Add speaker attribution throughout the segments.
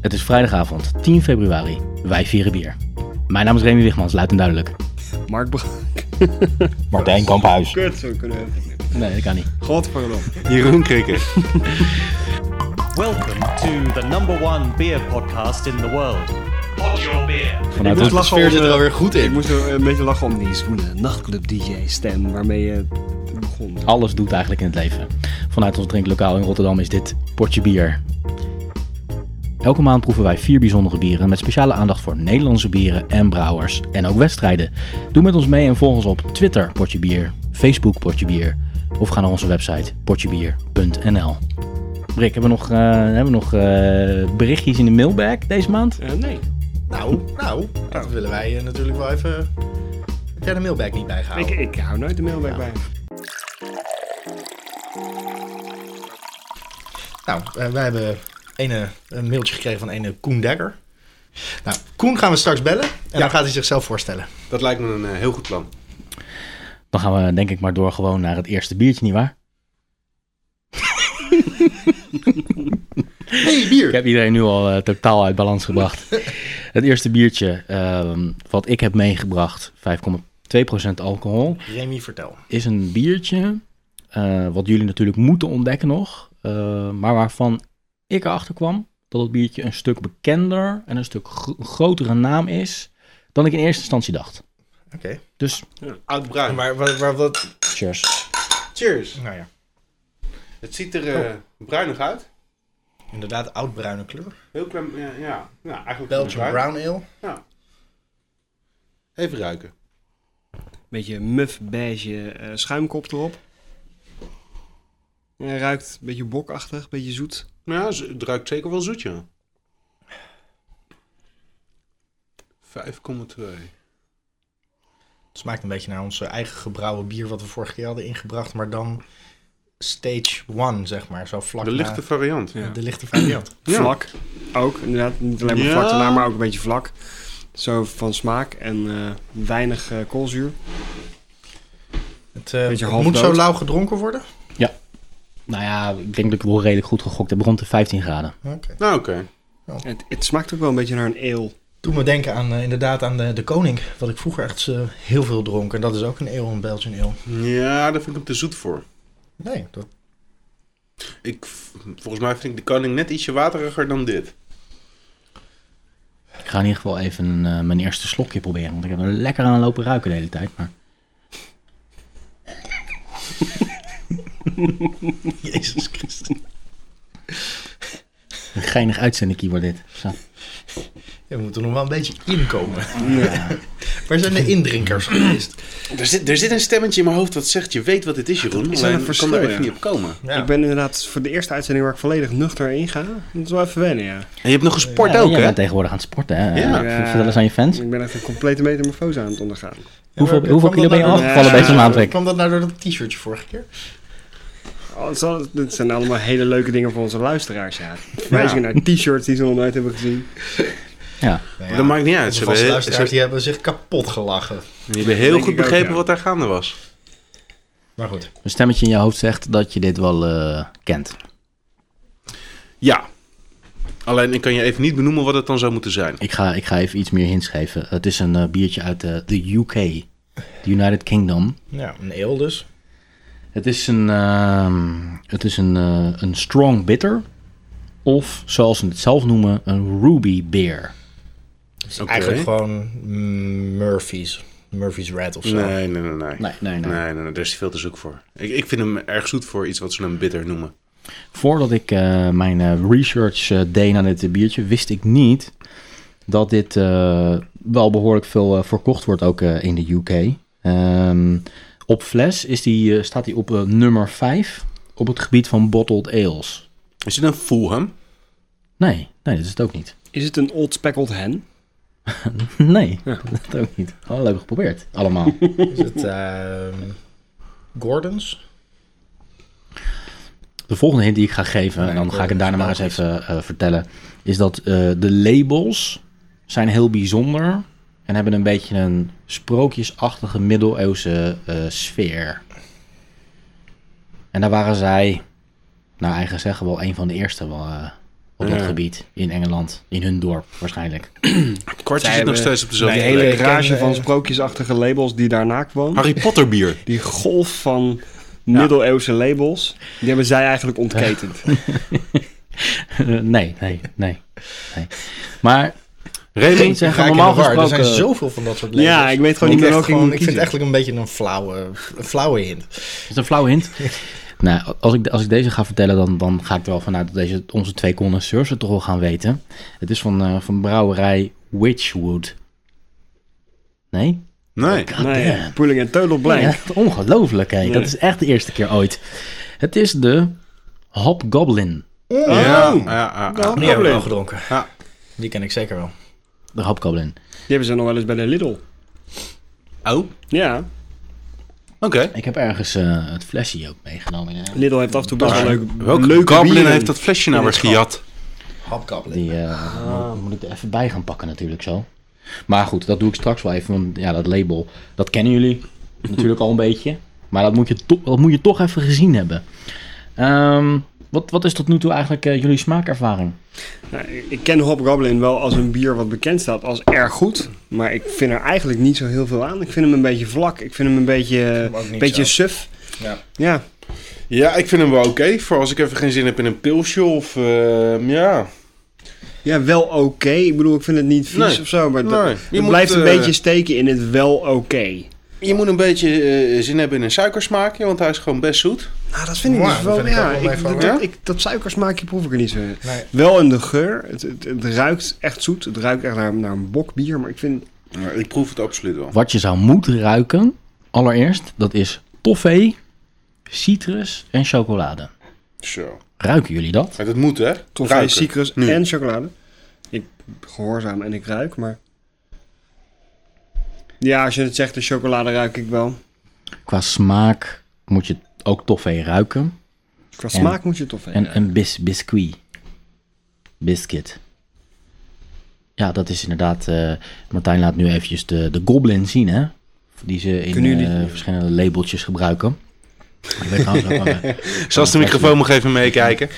Speaker 1: Het is vrijdagavond, 10 februari. Wij vieren bier. Mijn naam is Remy Wigmans, luid en duidelijk.
Speaker 2: Mark Bra...
Speaker 3: Martijn Kamphuis.
Speaker 2: Kut, zo kunnen we even.
Speaker 1: Nee, dat kan niet.
Speaker 2: Godverdomme.
Speaker 3: Jeroen Krikker.
Speaker 4: Welcome to the number one beer podcast in the world. Pod your beer.
Speaker 2: Ik
Speaker 1: Vanuit
Speaker 2: moest,
Speaker 1: het,
Speaker 2: lachen om, eh,
Speaker 3: weer goed
Speaker 2: ik moest er een beetje lachen om die zoene nachtclub-dj-stem waarmee je begon.
Speaker 1: alles doet eigenlijk in het leven. Vanuit ons drinklokaal in Rotterdam is dit Portje Bier. Elke maand proeven wij vier bijzondere bieren met speciale aandacht voor Nederlandse bieren en brouwers. En ook wedstrijden. Doe met ons mee en volg ons op Twitter Portje Bier, Facebook Portje Bier of ga naar onze website portjebier.nl. Brik, hebben we nog, eh, hebben we nog eh, berichtjes in de mailbag deze maand?
Speaker 2: Eh, nee.
Speaker 3: Nou, nou, dat willen wij eh, natuurlijk wel even... Heb jij de mailbag niet
Speaker 2: Ik,
Speaker 3: bijgehouden?
Speaker 2: ik hou nooit de mailbag bij.
Speaker 3: Nou, eh, wij hebben ene, een mailtje gekregen van ene Koen Dekker. Nou, Koen gaan we straks bellen en dan gaat hij zichzelf voorstellen.
Speaker 5: Dat lijkt me een eh, heel goed plan.
Speaker 1: Dan gaan we denk ik maar door gewoon naar het eerste biertje, nietwaar?
Speaker 3: Hey,
Speaker 1: Ik
Speaker 3: bier!
Speaker 1: heb iedereen nu al eh, totaal uit balans gebracht. Het eerste biertje ehm, wat ik heb meegebracht, 5,2% alcohol,
Speaker 3: Remy, vertel.
Speaker 1: is een biertje eh, wat jullie natuurlijk moeten ontdekken nog. eh, maar waarvan ik erachter kwam dat het biertje een stuk bekender en een stuk gro- grotere naam is dan ik in eerste instantie dacht.
Speaker 3: Oké.
Speaker 1: Dus
Speaker 5: Oud bruin.
Speaker 3: Maar waar, waar, wat...
Speaker 1: cheers.
Speaker 5: Cheers.
Speaker 3: Nou ja,
Speaker 5: Het ziet er eh, bruinig uit.
Speaker 3: inderdaad oudbruine kleur.
Speaker 5: Heel klein, ja, ja. ja eigenlijk
Speaker 3: Belgian
Speaker 5: bruin.
Speaker 3: brown ale.
Speaker 5: Even ruiken.
Speaker 2: Beetje muf beige eh, schuimkop erop. Ja, ruikt een beetje bokachtig, beetje zoet.
Speaker 5: Ja, z- het ruikt zeker wel zoet, ja. 5,2.
Speaker 3: Het smaakt een beetje naar ons eigen gebrouwen bier wat we vorige keer hadden ingebracht, maar dan stage one, zeg maar. Zo vlak
Speaker 5: De lichte variant.
Speaker 2: Ja.
Speaker 3: de lichte variant.
Speaker 5: Ja.
Speaker 2: Vlak ook, inderdaad. Niet alleen maar
Speaker 5: Ja.
Speaker 2: vlak daarna, maar ook een beetje vlak. Zo van smaak en eh, weinig eh, koolzuur.
Speaker 3: Het, eh,
Speaker 2: Beetje
Speaker 3: het
Speaker 2: half
Speaker 3: moet zo
Speaker 2: dood.
Speaker 3: lauw gedronken worden?
Speaker 1: Nou ja, ik denk dat ik wel redelijk goed gegokt heb. Rond de 15 graden.
Speaker 3: Oké.
Speaker 5: Nou, oké.
Speaker 2: Het, het smaakt ook wel een beetje naar een ale.
Speaker 3: Doe me denken aan, eh, inderdaad aan de, de koning, wat ik vroeger echt eh, heel veel dronk. En dat is ook een eeuw, een Belgian eeuw.
Speaker 5: Ja, daar vind ik hem te zoet voor.
Speaker 3: Nee, dat...
Speaker 5: Ik, v- volgens mij vind ik de koning net ietsje wateriger dan dit.
Speaker 1: Ik ga in ieder geval even eh, mijn eerste slokje proberen. Want ik heb er lekker aan lopen ruiken de hele tijd. Maar
Speaker 3: Jezus Christus.
Speaker 1: een geinig uitzendingkie wordt dit. Zo.
Speaker 3: Ja, we moeten nog wel een beetje inkomen. Waar zijn de indrinkers geweest?
Speaker 5: Er zit, er zit een stemmetje in mijn hoofd dat zegt, je weet wat dit is, Jeroen.
Speaker 2: is wel
Speaker 5: alleen
Speaker 2: een
Speaker 5: ik kan
Speaker 2: verschil,
Speaker 5: daar even
Speaker 2: ja.
Speaker 5: niet op komen.
Speaker 3: Ja.
Speaker 2: Ik ben inderdaad voor de eerste uitzending waar ik volledig nuchter in ga. Dat is wel even wennen, ja.
Speaker 5: En je hebt nog gesport
Speaker 1: Ja,
Speaker 5: ook,
Speaker 1: jij
Speaker 5: hè?
Speaker 1: bent tegenwoordig aan het sporten, hè?
Speaker 5: Ja.
Speaker 1: Eh, Vertel eens aan je
Speaker 5: Hm?
Speaker 1: fans.
Speaker 2: Ik ben echt een complete metamorfose aan het ondergaan.
Speaker 1: Hoeveel, hoeveel kilo ben je
Speaker 2: nou-
Speaker 1: afgevallen bij
Speaker 2: Ja.
Speaker 1: zo'n maandweek?
Speaker 3: Kwam dat nou door dat t-shirtje vorige keer?
Speaker 2: Oh, het zal- dit zijn allemaal hele leuke dingen voor onze luisteraars, ja. Verwijzingen naar t-shirts die ze nog nooit hebben gezien.
Speaker 1: Ja.
Speaker 3: Nou ja,
Speaker 5: Dat maakt niet uit.
Speaker 3: onze
Speaker 5: Ze
Speaker 3: vaste
Speaker 5: hebben, heel-
Speaker 3: luisteraars
Speaker 5: ze
Speaker 3: die hebben zich kapot gelachen.
Speaker 5: hebben heel
Speaker 2: Denk
Speaker 5: goed
Speaker 2: ik ook,
Speaker 5: begrepen
Speaker 2: ja.
Speaker 5: wat daar gaande was.
Speaker 3: Maar goed.
Speaker 1: Een stemmetje in je hoofd zegt dat je dit wel eh, kent.
Speaker 5: Ja. Alleen ik kan je even niet benoemen wat het dan zou moeten zijn.
Speaker 1: Ik ga, ik ga even iets meer hints geven. Het is een eh, biertje uit eh, de UK, de United Kingdom.
Speaker 3: Ja, een eeuw dus.
Speaker 1: Het is een, ehm, het is een, eh, een strong bitter. Of zoals ze het zelf noemen, een ruby beer.
Speaker 3: Dus
Speaker 5: Oké.
Speaker 3: Eigenlijk gewoon mm, Murphy's. Murphy's Red of zo.
Speaker 5: Nee, nee, nee, nee.
Speaker 1: Nee, nee, nee.
Speaker 5: Nee, nee, nee, daar is hij veel te zoek voor. Ik, ik vind hem erg zoet voor iets wat ze een bitter noemen.
Speaker 1: Voordat ik eh, mijn eh, research eh, deed naar dit eh, biertje, wist ik niet dat dit eh, wel behoorlijk veel eh, verkocht wordt ook eh, in de UK. Ehm, op fles is die, eh, staat hij op eh, nummer 5 op het gebied van bottled ales.
Speaker 5: Is dit een Fulham?
Speaker 1: Nee, nee, dat is het ook niet.
Speaker 2: Is het een old speckled hen?
Speaker 1: Nee, dat ook niet. Oh, leuk geprobeerd. Allemaal.
Speaker 3: Is het ehm, Gordons?
Speaker 1: De volgende hint die ik ga geven, en dan
Speaker 3: ik
Speaker 1: ga ik
Speaker 3: hoor
Speaker 1: het daarna
Speaker 3: het
Speaker 1: maar eens even eh, vertellen, is dat eh, de labels zijn heel bijzonder en hebben een beetje een sprookjesachtige middeleeuwse eh, sfeer. En daar waren zij, naar eigen zeggen, wel een van de eerste wel, eh, op dat
Speaker 5: Ja.
Speaker 1: gebied in Engeland. In hun dorp waarschijnlijk.
Speaker 5: Het kwartje
Speaker 2: Zij
Speaker 5: zit nog
Speaker 2: hebben-
Speaker 5: steeds op dezelfde
Speaker 2: de
Speaker 5: plek.
Speaker 2: hele
Speaker 3: ik ken,
Speaker 2: rage
Speaker 3: eh,
Speaker 2: van sprookjesachtige labels die daarna kwam.
Speaker 5: Harry Potter bier.
Speaker 2: Die golf van middeleeuwse labels, die hebben zij eigenlijk ontketend.
Speaker 1: nee, nee, nee, nee. Maar
Speaker 5: Remy,
Speaker 1: Ik zeg,
Speaker 3: Ga ik in de
Speaker 1: normaal
Speaker 3: war. Er zijn
Speaker 1: gesproken-
Speaker 3: zoveel van dat soort labels.
Speaker 2: ja, ik weet gewoon niet
Speaker 3: ik,
Speaker 2: meer
Speaker 3: echt
Speaker 2: welke ik
Speaker 3: gewoon,
Speaker 2: moet
Speaker 3: ik vind het
Speaker 2: kiezen.
Speaker 3: eigenlijk een beetje een flauwe, een flauwe hint.
Speaker 1: is een flauwe hint. nou, als ik, als ik deze ga vertellen, dan, dan ga ik er wel vanuit dat deze, onze twee connoisseurs het toch wel gaan weten. Het is van, eh, van brouwerij Witchwood. Nee?
Speaker 5: Nee.
Speaker 2: Nee, Poeling en Total Blank.
Speaker 1: Ja, ongelooflijk, hè. Dat is echt de eerste keer ooit. Het is de Hobgoblin.
Speaker 5: Ja, ja, ja, ja.
Speaker 3: Die hebben we wel gedronken.
Speaker 5: Ja.
Speaker 3: Die ken ik zeker wel.
Speaker 1: De Hobgoblin.
Speaker 2: Die hebben ze nog wel eens bij de Lidl.
Speaker 5: Oh, oké.
Speaker 2: Ja,
Speaker 1: Ik heb ergens eh, het flesje ook meegenomen. eh.
Speaker 2: Lidl heeft af en toe best wel leuk.
Speaker 5: Welke
Speaker 2: leuke
Speaker 5: goblin
Speaker 2: bieren.
Speaker 5: heeft dat flesje nou weer gejat?
Speaker 3: Hapkabbelen.
Speaker 1: Die eh, moet, moet ik er even bij gaan pakken natuurlijk zo. Maar goed, dat doe ik straks wel even. Want ja, dat label, dat kennen jullie natuurlijk al een beetje. Maar dat moet je, to- dat moet je toch even gezien hebben. Ehm, wat, wat is tot nu toe eigenlijk eh, jullie smaakervaring?
Speaker 2: Nou, ik ken Hobgoblin wel als een bier wat bekend staat als erg goed. Maar ik vind er eigenlijk niet zo heel veel aan. Ik vind hem een beetje vlak. Ik vind hem een beetje,
Speaker 3: hem ook niet
Speaker 2: beetje
Speaker 3: zo.
Speaker 2: suf.
Speaker 3: Ja.
Speaker 2: Ja,
Speaker 5: Ja, ik vind hem wel oké. voor als ik even geen zin heb in een pilsje of... eh, ja.
Speaker 2: ja wel oké. Ik bedoel, ik vind het niet vies
Speaker 5: Nee.
Speaker 2: of zo. Maar dat-
Speaker 5: Nee, je
Speaker 2: het
Speaker 5: moet,
Speaker 2: blijft een
Speaker 5: eh,
Speaker 2: beetje steken in het wel oké.
Speaker 5: Je moet een beetje eh, zin hebben in een suikersmaakje, want hij is gewoon best zoet.
Speaker 2: Nou, dat vind ik
Speaker 3: Mooi,
Speaker 2: dus
Speaker 3: dat
Speaker 2: wel...
Speaker 3: vind ik
Speaker 2: ja,
Speaker 3: ook wel
Speaker 2: ik-
Speaker 3: even-
Speaker 2: dat,
Speaker 5: ja?
Speaker 2: ik, dat suikersmaakje proef ik er niet zo.
Speaker 3: Nee.
Speaker 2: Wel in de geur. Het, het, het ruikt echt zoet. Het ruikt echt naar, naar een bokbier. Maar ik vind...
Speaker 5: Maar ik proef het absoluut wel.
Speaker 1: Wat je zou moeten ruiken, allereerst, dat is toffee, citrus en chocolade.
Speaker 5: Zo.
Speaker 1: Ruiken jullie dat?
Speaker 5: Maar dat moet, hè?
Speaker 2: Toffee,
Speaker 5: Ruiken.
Speaker 2: citrus
Speaker 5: Nu.
Speaker 2: en chocolade. Ik gehoorzaam en ik ruik, maar... Ja, als je het zegt, de chocolade ruik ik wel.
Speaker 1: Qua smaak moet je ook toffee ruiken.
Speaker 2: Qua smaak moet je het toffee.
Speaker 1: En een bis, biscuit. Biscuit. Ja, dat is inderdaad... eh, Martijn laat nu eventjes de, de goblin zien, hè? Die ze in
Speaker 2: Kunnen jullie-
Speaker 1: eh, verschillende labeltjes gebruiken. Ik weet trouwens ook wel, eh,
Speaker 5: Zelfs de microfoon mag even meekijken.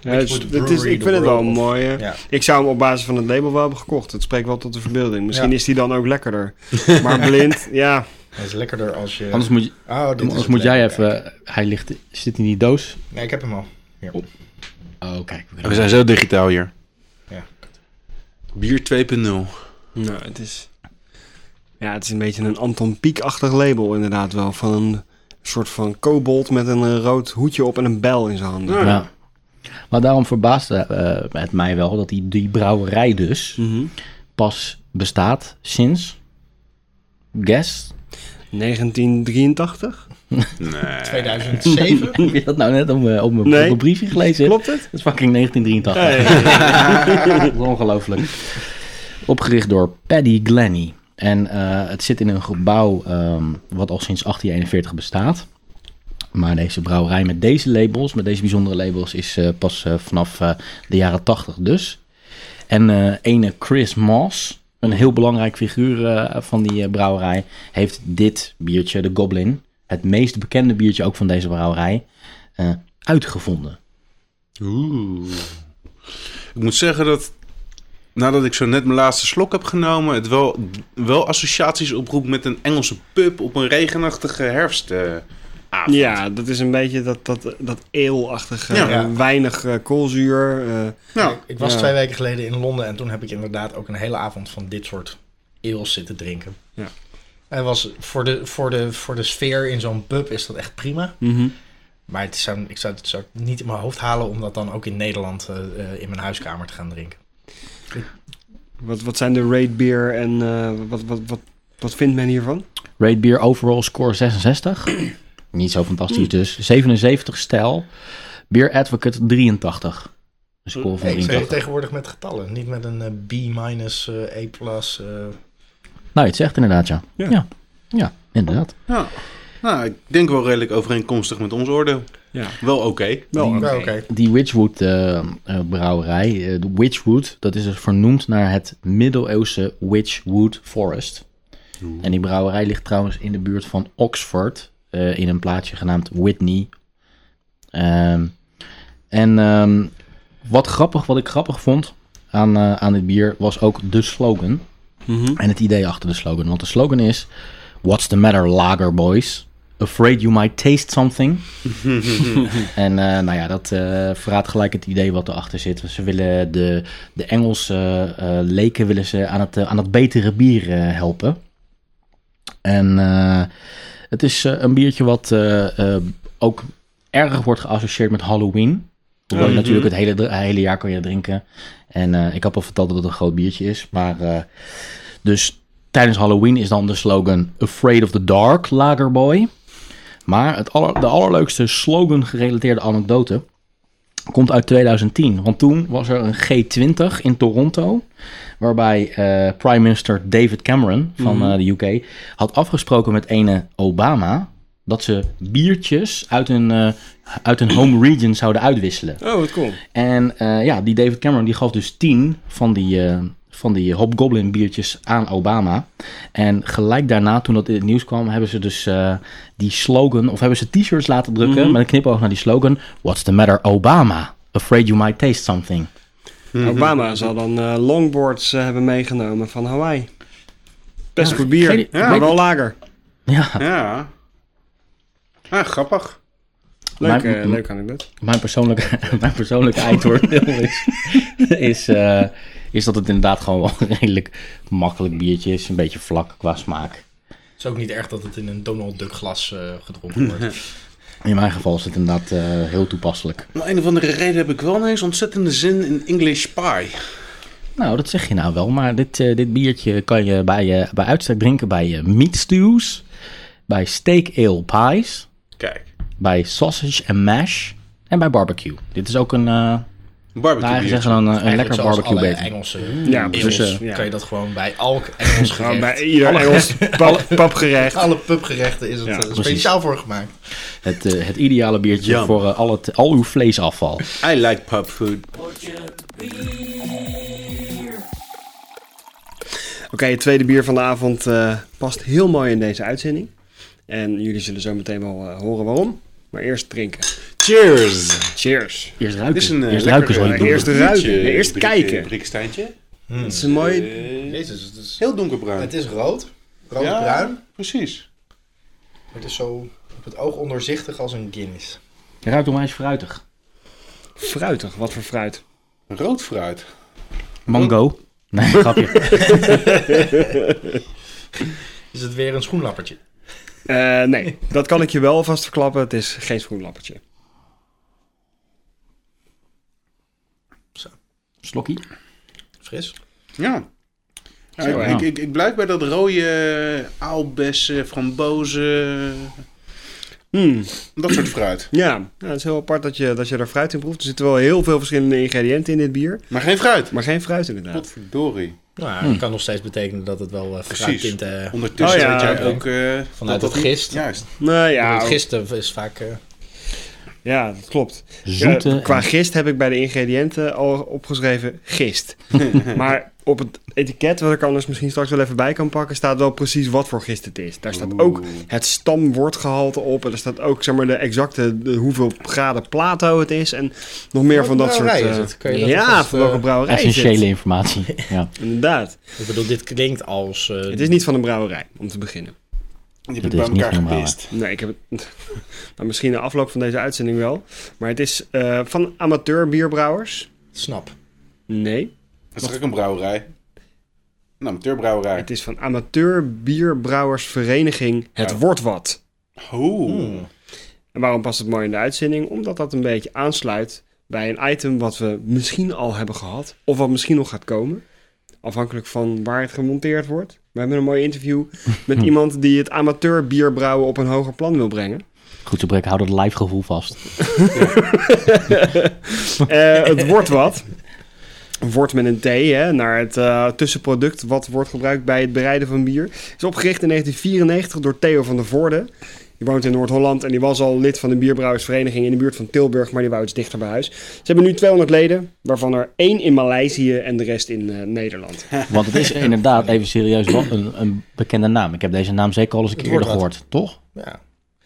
Speaker 2: Ja, het is-
Speaker 3: Which would
Speaker 2: het is,
Speaker 3: brewery
Speaker 2: ik
Speaker 3: the
Speaker 2: vind het wel
Speaker 3: world
Speaker 2: een
Speaker 3: of-
Speaker 2: mooie.
Speaker 3: Ja.
Speaker 2: Ik zou hem op basis van het label wel hebben gekocht. Het spreekt wel tot de verbeelding. Misschien
Speaker 3: Ja.
Speaker 2: is die dan ook lekkerder. Maar blind, ja.
Speaker 3: Dat is lekkerder als je...
Speaker 1: Anders moet, je-
Speaker 3: oh, dit is
Speaker 1: anders
Speaker 3: het
Speaker 1: moet jij
Speaker 3: lekker.
Speaker 1: even... eh, Hij ligt, zit in die doos.
Speaker 3: Nee, ik heb hem al. Hier.
Speaker 1: Op. Oh, kijk. we kunnen-
Speaker 5: We zijn zo digitaal hier.
Speaker 3: Ja.
Speaker 5: Bier 2.0.
Speaker 2: Nou, het is... Ja, het is een beetje een Anton Pieck-achtig label inderdaad wel. Van een soort van kobold met een eh, rood hoedje op en een bel in zijn handen.
Speaker 1: Ja. Maar daarom verbaasde eh, het mij wel dat die, die brouwerij dus
Speaker 2: Mhm.
Speaker 1: pas bestaat sinds... Guess?
Speaker 2: 1983?
Speaker 5: Nee.
Speaker 3: 2007?
Speaker 1: Heb je dat nou net op mijn, op mijn,
Speaker 2: Nee.
Speaker 1: op mijn briefje gelezen?
Speaker 2: Klopt het?
Speaker 1: Dat is fucking 1983. Dat is ongelooflijk. Opgericht door Paddy Glennie. En eh, het zit in een gebouw ehm, wat al sinds 1841 bestaat. Maar deze brouwerij met deze labels, met deze bijzondere labels, is eh, pas eh, vanaf eh, de jaren 80 dus. En eh ene Chris Moss, een heel belangrijk figuur eh, van die eh, brouwerij, heeft dit biertje, de Goblin, het meest bekende biertje ook van deze brouwerij, eh, uitgevonden.
Speaker 5: Oeh. Ik moet zeggen dat nadat ik zo net mijn laatste slok heb genomen, het wel, wel associaties oproept met een Engelse pub op een regenachtige herfstavond.
Speaker 2: Ja, dat is een beetje dat, dat, dat eelachtige,
Speaker 5: Ja.
Speaker 2: eh, weinig eh, koolzuur. eh,
Speaker 5: Nou,
Speaker 3: Ik was
Speaker 2: Ja.
Speaker 3: twee weken geleden in Londen en toen heb ik inderdaad ook een hele avond van dit soort eels zitten drinken.
Speaker 2: Ja.
Speaker 3: En was voor, de, voor, de, voor de sfeer in zo'n pub is dat echt prima.
Speaker 2: Mhm.
Speaker 3: Maar het zou, ik zou het zou het niet in mijn hoofd halen om dat dan ook in Nederland eh, eh, in mijn huiskamer te gaan drinken.
Speaker 2: wat, wat zijn de rate beer en eh, wat, wat, wat, wat vindt men hiervan?
Speaker 1: Rate Beer overall score 66. Niet zo fantastisch dus. 77 stijl. Beer Advocate 83. Een score van
Speaker 3: Nee, ik speel
Speaker 1: 83.
Speaker 3: tegenwoordig met getallen, niet met een eh, B minus, eh, A plus. eh.
Speaker 1: Nou, je het zegt inderdaad ja. Ja,
Speaker 2: Ja.
Speaker 1: ja. inderdaad.
Speaker 5: nou, nou, ik denk wel redelijk overeenkomstig met ons oordeel.
Speaker 2: Ja.
Speaker 5: Wel oké.
Speaker 2: Wel,
Speaker 5: Mm.
Speaker 2: eh,
Speaker 3: Ja,
Speaker 2: oké.
Speaker 3: oké.
Speaker 1: Die Witchwood eh, eh, brouwerij, eh, de Witchwood, dat is dus vernoemd naar het middeleeuwse Witchwood Forest. En die brouwerij ligt trouwens in de buurt van Oxford, eh, in een plaatsje genaamd Whitney. Ehm, en ehm, Wat grappig, wat ik grappig vond aan, eh, aan dit bier was ook de slogan.
Speaker 2: Mhm.
Speaker 1: En het idee achter de slogan. Want de slogan is: What's the matter, lager boys? Afraid you might taste something. en eh, nou ja, dat eh, verraadt gelijk het idee wat erachter zit. Ze willen de, de Engelse eh, eh, leken willen ze aan, het, eh, aan het betere bier eh, helpen. En eh, het is eh, een biertje wat eh, eh, ook erg wordt geassocieerd met Halloween. Hoewel je
Speaker 5: Mhm.
Speaker 1: natuurlijk het hele, dr- hele jaar kan je drinken. En eh, ik had al verteld dat het een groot biertje is. Maar eh, dus tijdens Halloween is dan de slogan Afraid of the Dark, Lagerboy. Maar het aller, de allerleukste slogan gerelateerde anekdote komt uit 2010. Want toen was er een G20 in Toronto. Waarbij eh, Prime Minister David Cameron van eh, de UK had afgesproken met ene Obama. Dat ze biertjes uit hun, eh, uit hun home region zouden uitwisselen.
Speaker 2: Oh, wat cool.
Speaker 1: En eh, ja, die David Cameron die gaf dus 10 van die, eh, van die Hobgoblin biertjes aan Obama. En gelijk daarna, toen dat in het nieuws kwam, hebben ze dus eh, die slogan, of hebben ze t-shirts laten drukken
Speaker 2: Mhm.
Speaker 1: met een knipoog naar die slogan: What's the matter, Obama? Afraid you might taste something.
Speaker 2: Mhm. Obama zal dan eh, longboards eh, hebben meegenomen van Hawaii. Best goed
Speaker 1: geen-
Speaker 2: bier,
Speaker 1: ik
Speaker 2: maar
Speaker 1: weet-
Speaker 2: wel lager.
Speaker 1: Ja,
Speaker 5: Ja. Ah, grappig.
Speaker 2: Leuk,
Speaker 1: Mijn-
Speaker 2: eh, leuk aan het
Speaker 1: mijn persoonlijke, mijn persoonlijke eindoordeel is, is, eh, is dat het inderdaad gewoon wel een redelijk makkelijk biertje is. Een beetje vlak qua smaak.
Speaker 3: Het is ook niet erg dat het in een Donald Duck glas eh, gedronken wordt.
Speaker 1: In mijn geval is het inderdaad eh, heel toepasselijk.
Speaker 5: Om een of andere reden heb ik wel ineens ontzettende zin in English pie.
Speaker 1: Nou, dat zeg je nou wel, maar dit, eh, dit biertje kan je bij, eh, bij uitstek drinken bij eh, meat stews, bij steak ale pies,
Speaker 5: Kijk,
Speaker 1: bij sausage en mash en bij barbecue. Dit is ook een, eh nou
Speaker 5: barbecue
Speaker 1: eigenlijk
Speaker 5: bier.
Speaker 1: zeggen dan een, een
Speaker 3: Eigenlijk
Speaker 1: lekker
Speaker 3: zoals
Speaker 1: barbecue
Speaker 3: alle
Speaker 1: bacon.
Speaker 3: Engelse
Speaker 2: Ja,
Speaker 3: eels
Speaker 2: precies,
Speaker 1: eh,
Speaker 2: ja.
Speaker 3: kan je dat gewoon bij elk Engels
Speaker 2: Gewoon
Speaker 3: gerecht.
Speaker 2: bij ieder Engels pap- papgerecht.
Speaker 3: Alle pubgerechten is het
Speaker 2: Ja,
Speaker 3: eh,
Speaker 1: precies.
Speaker 3: speciaal voor gemaakt.
Speaker 1: Het, eh, het ideale biertje
Speaker 5: Yum.
Speaker 1: voor eh, al, het, al uw vleesafval.
Speaker 5: I like pub food.
Speaker 2: Oké, het tweede bier van de avond eh, past heel mooi in deze uitzending. En jullie zullen zo meteen wel eh, horen waarom. Maar eerst drinken.
Speaker 5: Cheers!
Speaker 2: Cheers.
Speaker 1: Eerst
Speaker 5: Dit
Speaker 1: ruiken,
Speaker 5: is een eh,
Speaker 1: eerst
Speaker 5: lekker,
Speaker 1: ruiken zou
Speaker 5: eh,
Speaker 1: je doen.
Speaker 2: Eerst ruiken, nee, eerst
Speaker 5: Brik-
Speaker 2: kijken.
Speaker 5: Briksteintje.
Speaker 2: Het is een mooi...
Speaker 5: Eh,
Speaker 3: Jezus, het is,
Speaker 5: heel donkerbruin.
Speaker 3: het is rood.
Speaker 5: Ja.
Speaker 3: Rood-bruin.
Speaker 5: Precies.
Speaker 3: Maar Het is zo op het oog ondoorzichtig als een Guinness.
Speaker 1: Het ruikt onwijs fruitig.
Speaker 2: fruitig. Wat voor fruit?
Speaker 5: Rood fruit.
Speaker 1: Mango. Nee, grapje.
Speaker 3: Is het weer een schoenlappertje?
Speaker 2: Eh, nee, dat kan ik je wel vast verklappen. Het is geen schoenlappertje.
Speaker 1: Slokkie.
Speaker 3: Fris?
Speaker 5: Ja. Ja,
Speaker 2: Zo,
Speaker 5: ik,
Speaker 1: ja.
Speaker 5: ik, ik, ik blijf bij dat rode eh, aalbessen, frambozen,
Speaker 2: Hmm.
Speaker 5: dat soort fruit.
Speaker 2: Ja, nou, het is heel apart dat je, dat je daar fruit in proeft. Er zitten wel heel veel verschillende ingrediënten in dit bier.
Speaker 5: Maar geen fruit.
Speaker 2: Maar geen fruit inderdaad.
Speaker 5: Potverdorie.
Speaker 3: Nou,
Speaker 2: Hm.
Speaker 3: ja, dat kan nog steeds betekenen dat het wel uh,
Speaker 5: Precies.
Speaker 3: fruittinten... eh,
Speaker 5: Ondertussen
Speaker 2: Oh ja,
Speaker 5: weet jij
Speaker 2: oké.
Speaker 5: ook... eh,
Speaker 3: Vanuit
Speaker 5: dat
Speaker 3: het
Speaker 5: niet-
Speaker 3: gist.
Speaker 5: Juist.
Speaker 2: Nou
Speaker 3: want
Speaker 2: ja,
Speaker 3: Gisten is vaak... eh,
Speaker 2: ja, dat klopt.
Speaker 1: Zoete.
Speaker 2: Ja, qua
Speaker 1: en-
Speaker 2: gist heb ik bij de ingrediënten al opgeschreven gist. maar op het etiket, wat ik anders misschien straks wel even bij kan pakken, staat wel precies wat voor gist het is. Daar staat ook het stamwoordgehalte op. En er staat ook zeg maar, de exacte de hoeveel graden plato het is. En nog meer
Speaker 3: Welke
Speaker 2: van dat soort.
Speaker 3: brouwerij is
Speaker 2: eh,
Speaker 3: het? Kan je dat
Speaker 2: ja,
Speaker 3: alvast,
Speaker 2: van welke
Speaker 3: eh,
Speaker 2: brouwerij. is het?
Speaker 1: Essentiële informatie. Ja.
Speaker 2: Inderdaad.
Speaker 3: ik bedoel, dit klinkt als... eh,
Speaker 2: Het is niet van een brouwerij, om te beginnen.
Speaker 5: Je hebt
Speaker 1: Dat
Speaker 5: het bij
Speaker 1: is niet
Speaker 5: elkaar
Speaker 1: normaal.
Speaker 5: gepist.
Speaker 2: Nee, ik heb het. Nou, misschien na afloop van deze uitzending wel. Maar het is eh, van amateur bierbrouwers.
Speaker 3: Snap.
Speaker 2: Nee.
Speaker 5: Dat is toch ook een brouwerij? Nou, Een amateurbrouwerij.
Speaker 2: Het is van amateur bierbrouwersvereniging Het
Speaker 5: Ja.
Speaker 2: Wordt Wat.
Speaker 5: Oeh.
Speaker 2: En waarom past het mooi in de uitzending? Omdat dat een beetje aansluit bij een item wat we misschien al hebben gehad. Of wat misschien nog gaat komen. Afhankelijk van waar het gemonteerd wordt. We hebben een mooi interview met iemand die het amateur bierbrouwen op een hoger plan wil brengen.
Speaker 1: Goed, Brek, hou dat live gevoel vast.
Speaker 2: Eh, het wordt wat. Wordt met een T, hè, naar het eh, tussenproduct wat wordt gebruikt bij het bereiden van bier. Is opgericht in 1994 door Theo van der Voorde. Die woont in Noord-Holland en die was al lid van de bierbrouwersvereniging in de buurt van Tilburg, maar die wou iets dichter bij huis. Ze hebben nu 200 leden, waarvan er één in Maleisië en de rest in eh, Nederland.
Speaker 1: Want het is inderdaad, even serieus, wel een, een bekende naam. Ik heb deze naam zeker al eens een keer
Speaker 3: wordt
Speaker 1: eerder gehoord, toch?
Speaker 3: Ja.
Speaker 5: Waar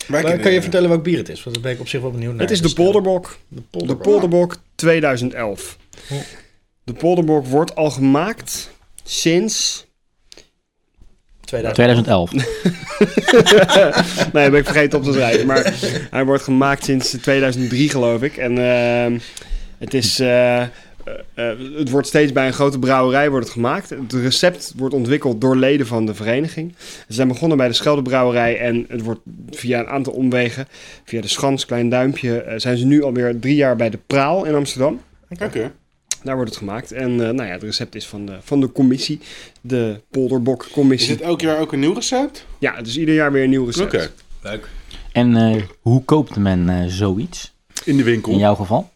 Speaker 3: Maar
Speaker 5: ken
Speaker 3: kan je
Speaker 5: die-
Speaker 3: vertellen welk bier het is? Want daar ben ik op zich wel benieuwd naar.
Speaker 2: eh, het is de
Speaker 3: Dus, eh,
Speaker 2: Polderbok.
Speaker 3: De
Speaker 2: De
Speaker 3: polderbok.
Speaker 2: Polderbok 2011.
Speaker 3: Oh.
Speaker 2: De Polderbok wordt al gemaakt sinds...
Speaker 3: 2000.
Speaker 1: 2011.
Speaker 2: Nee, ben ik vergeten op te schrijven. Maar hij wordt gemaakt sinds 2003, geloof ik. En ehm, het is... eh, eh, eh, het wordt steeds bij een grote brouwerij wordt het gemaakt. Het recept wordt ontwikkeld door leden van de vereniging. Ze zijn begonnen bij de Scheldebrouwerij en het wordt via een aantal omwegen, via de Schans, Klein Duimpje, eh, zijn ze nu alweer drie jaar bij de Praal in Amsterdam.
Speaker 5: Oké.
Speaker 2: Daar wordt het gemaakt. En eh, nou ja, het recept is van de, van de commissie, de Polderbok-commissie.
Speaker 5: Is dit elk jaar ook een nieuw recept?
Speaker 2: Ja, dus ieder jaar weer een nieuw recept.
Speaker 5: Oké.
Speaker 3: Leuk.
Speaker 1: En eh, hoe koopt men eh, zoiets?
Speaker 5: In de winkel.
Speaker 1: In jouw geval?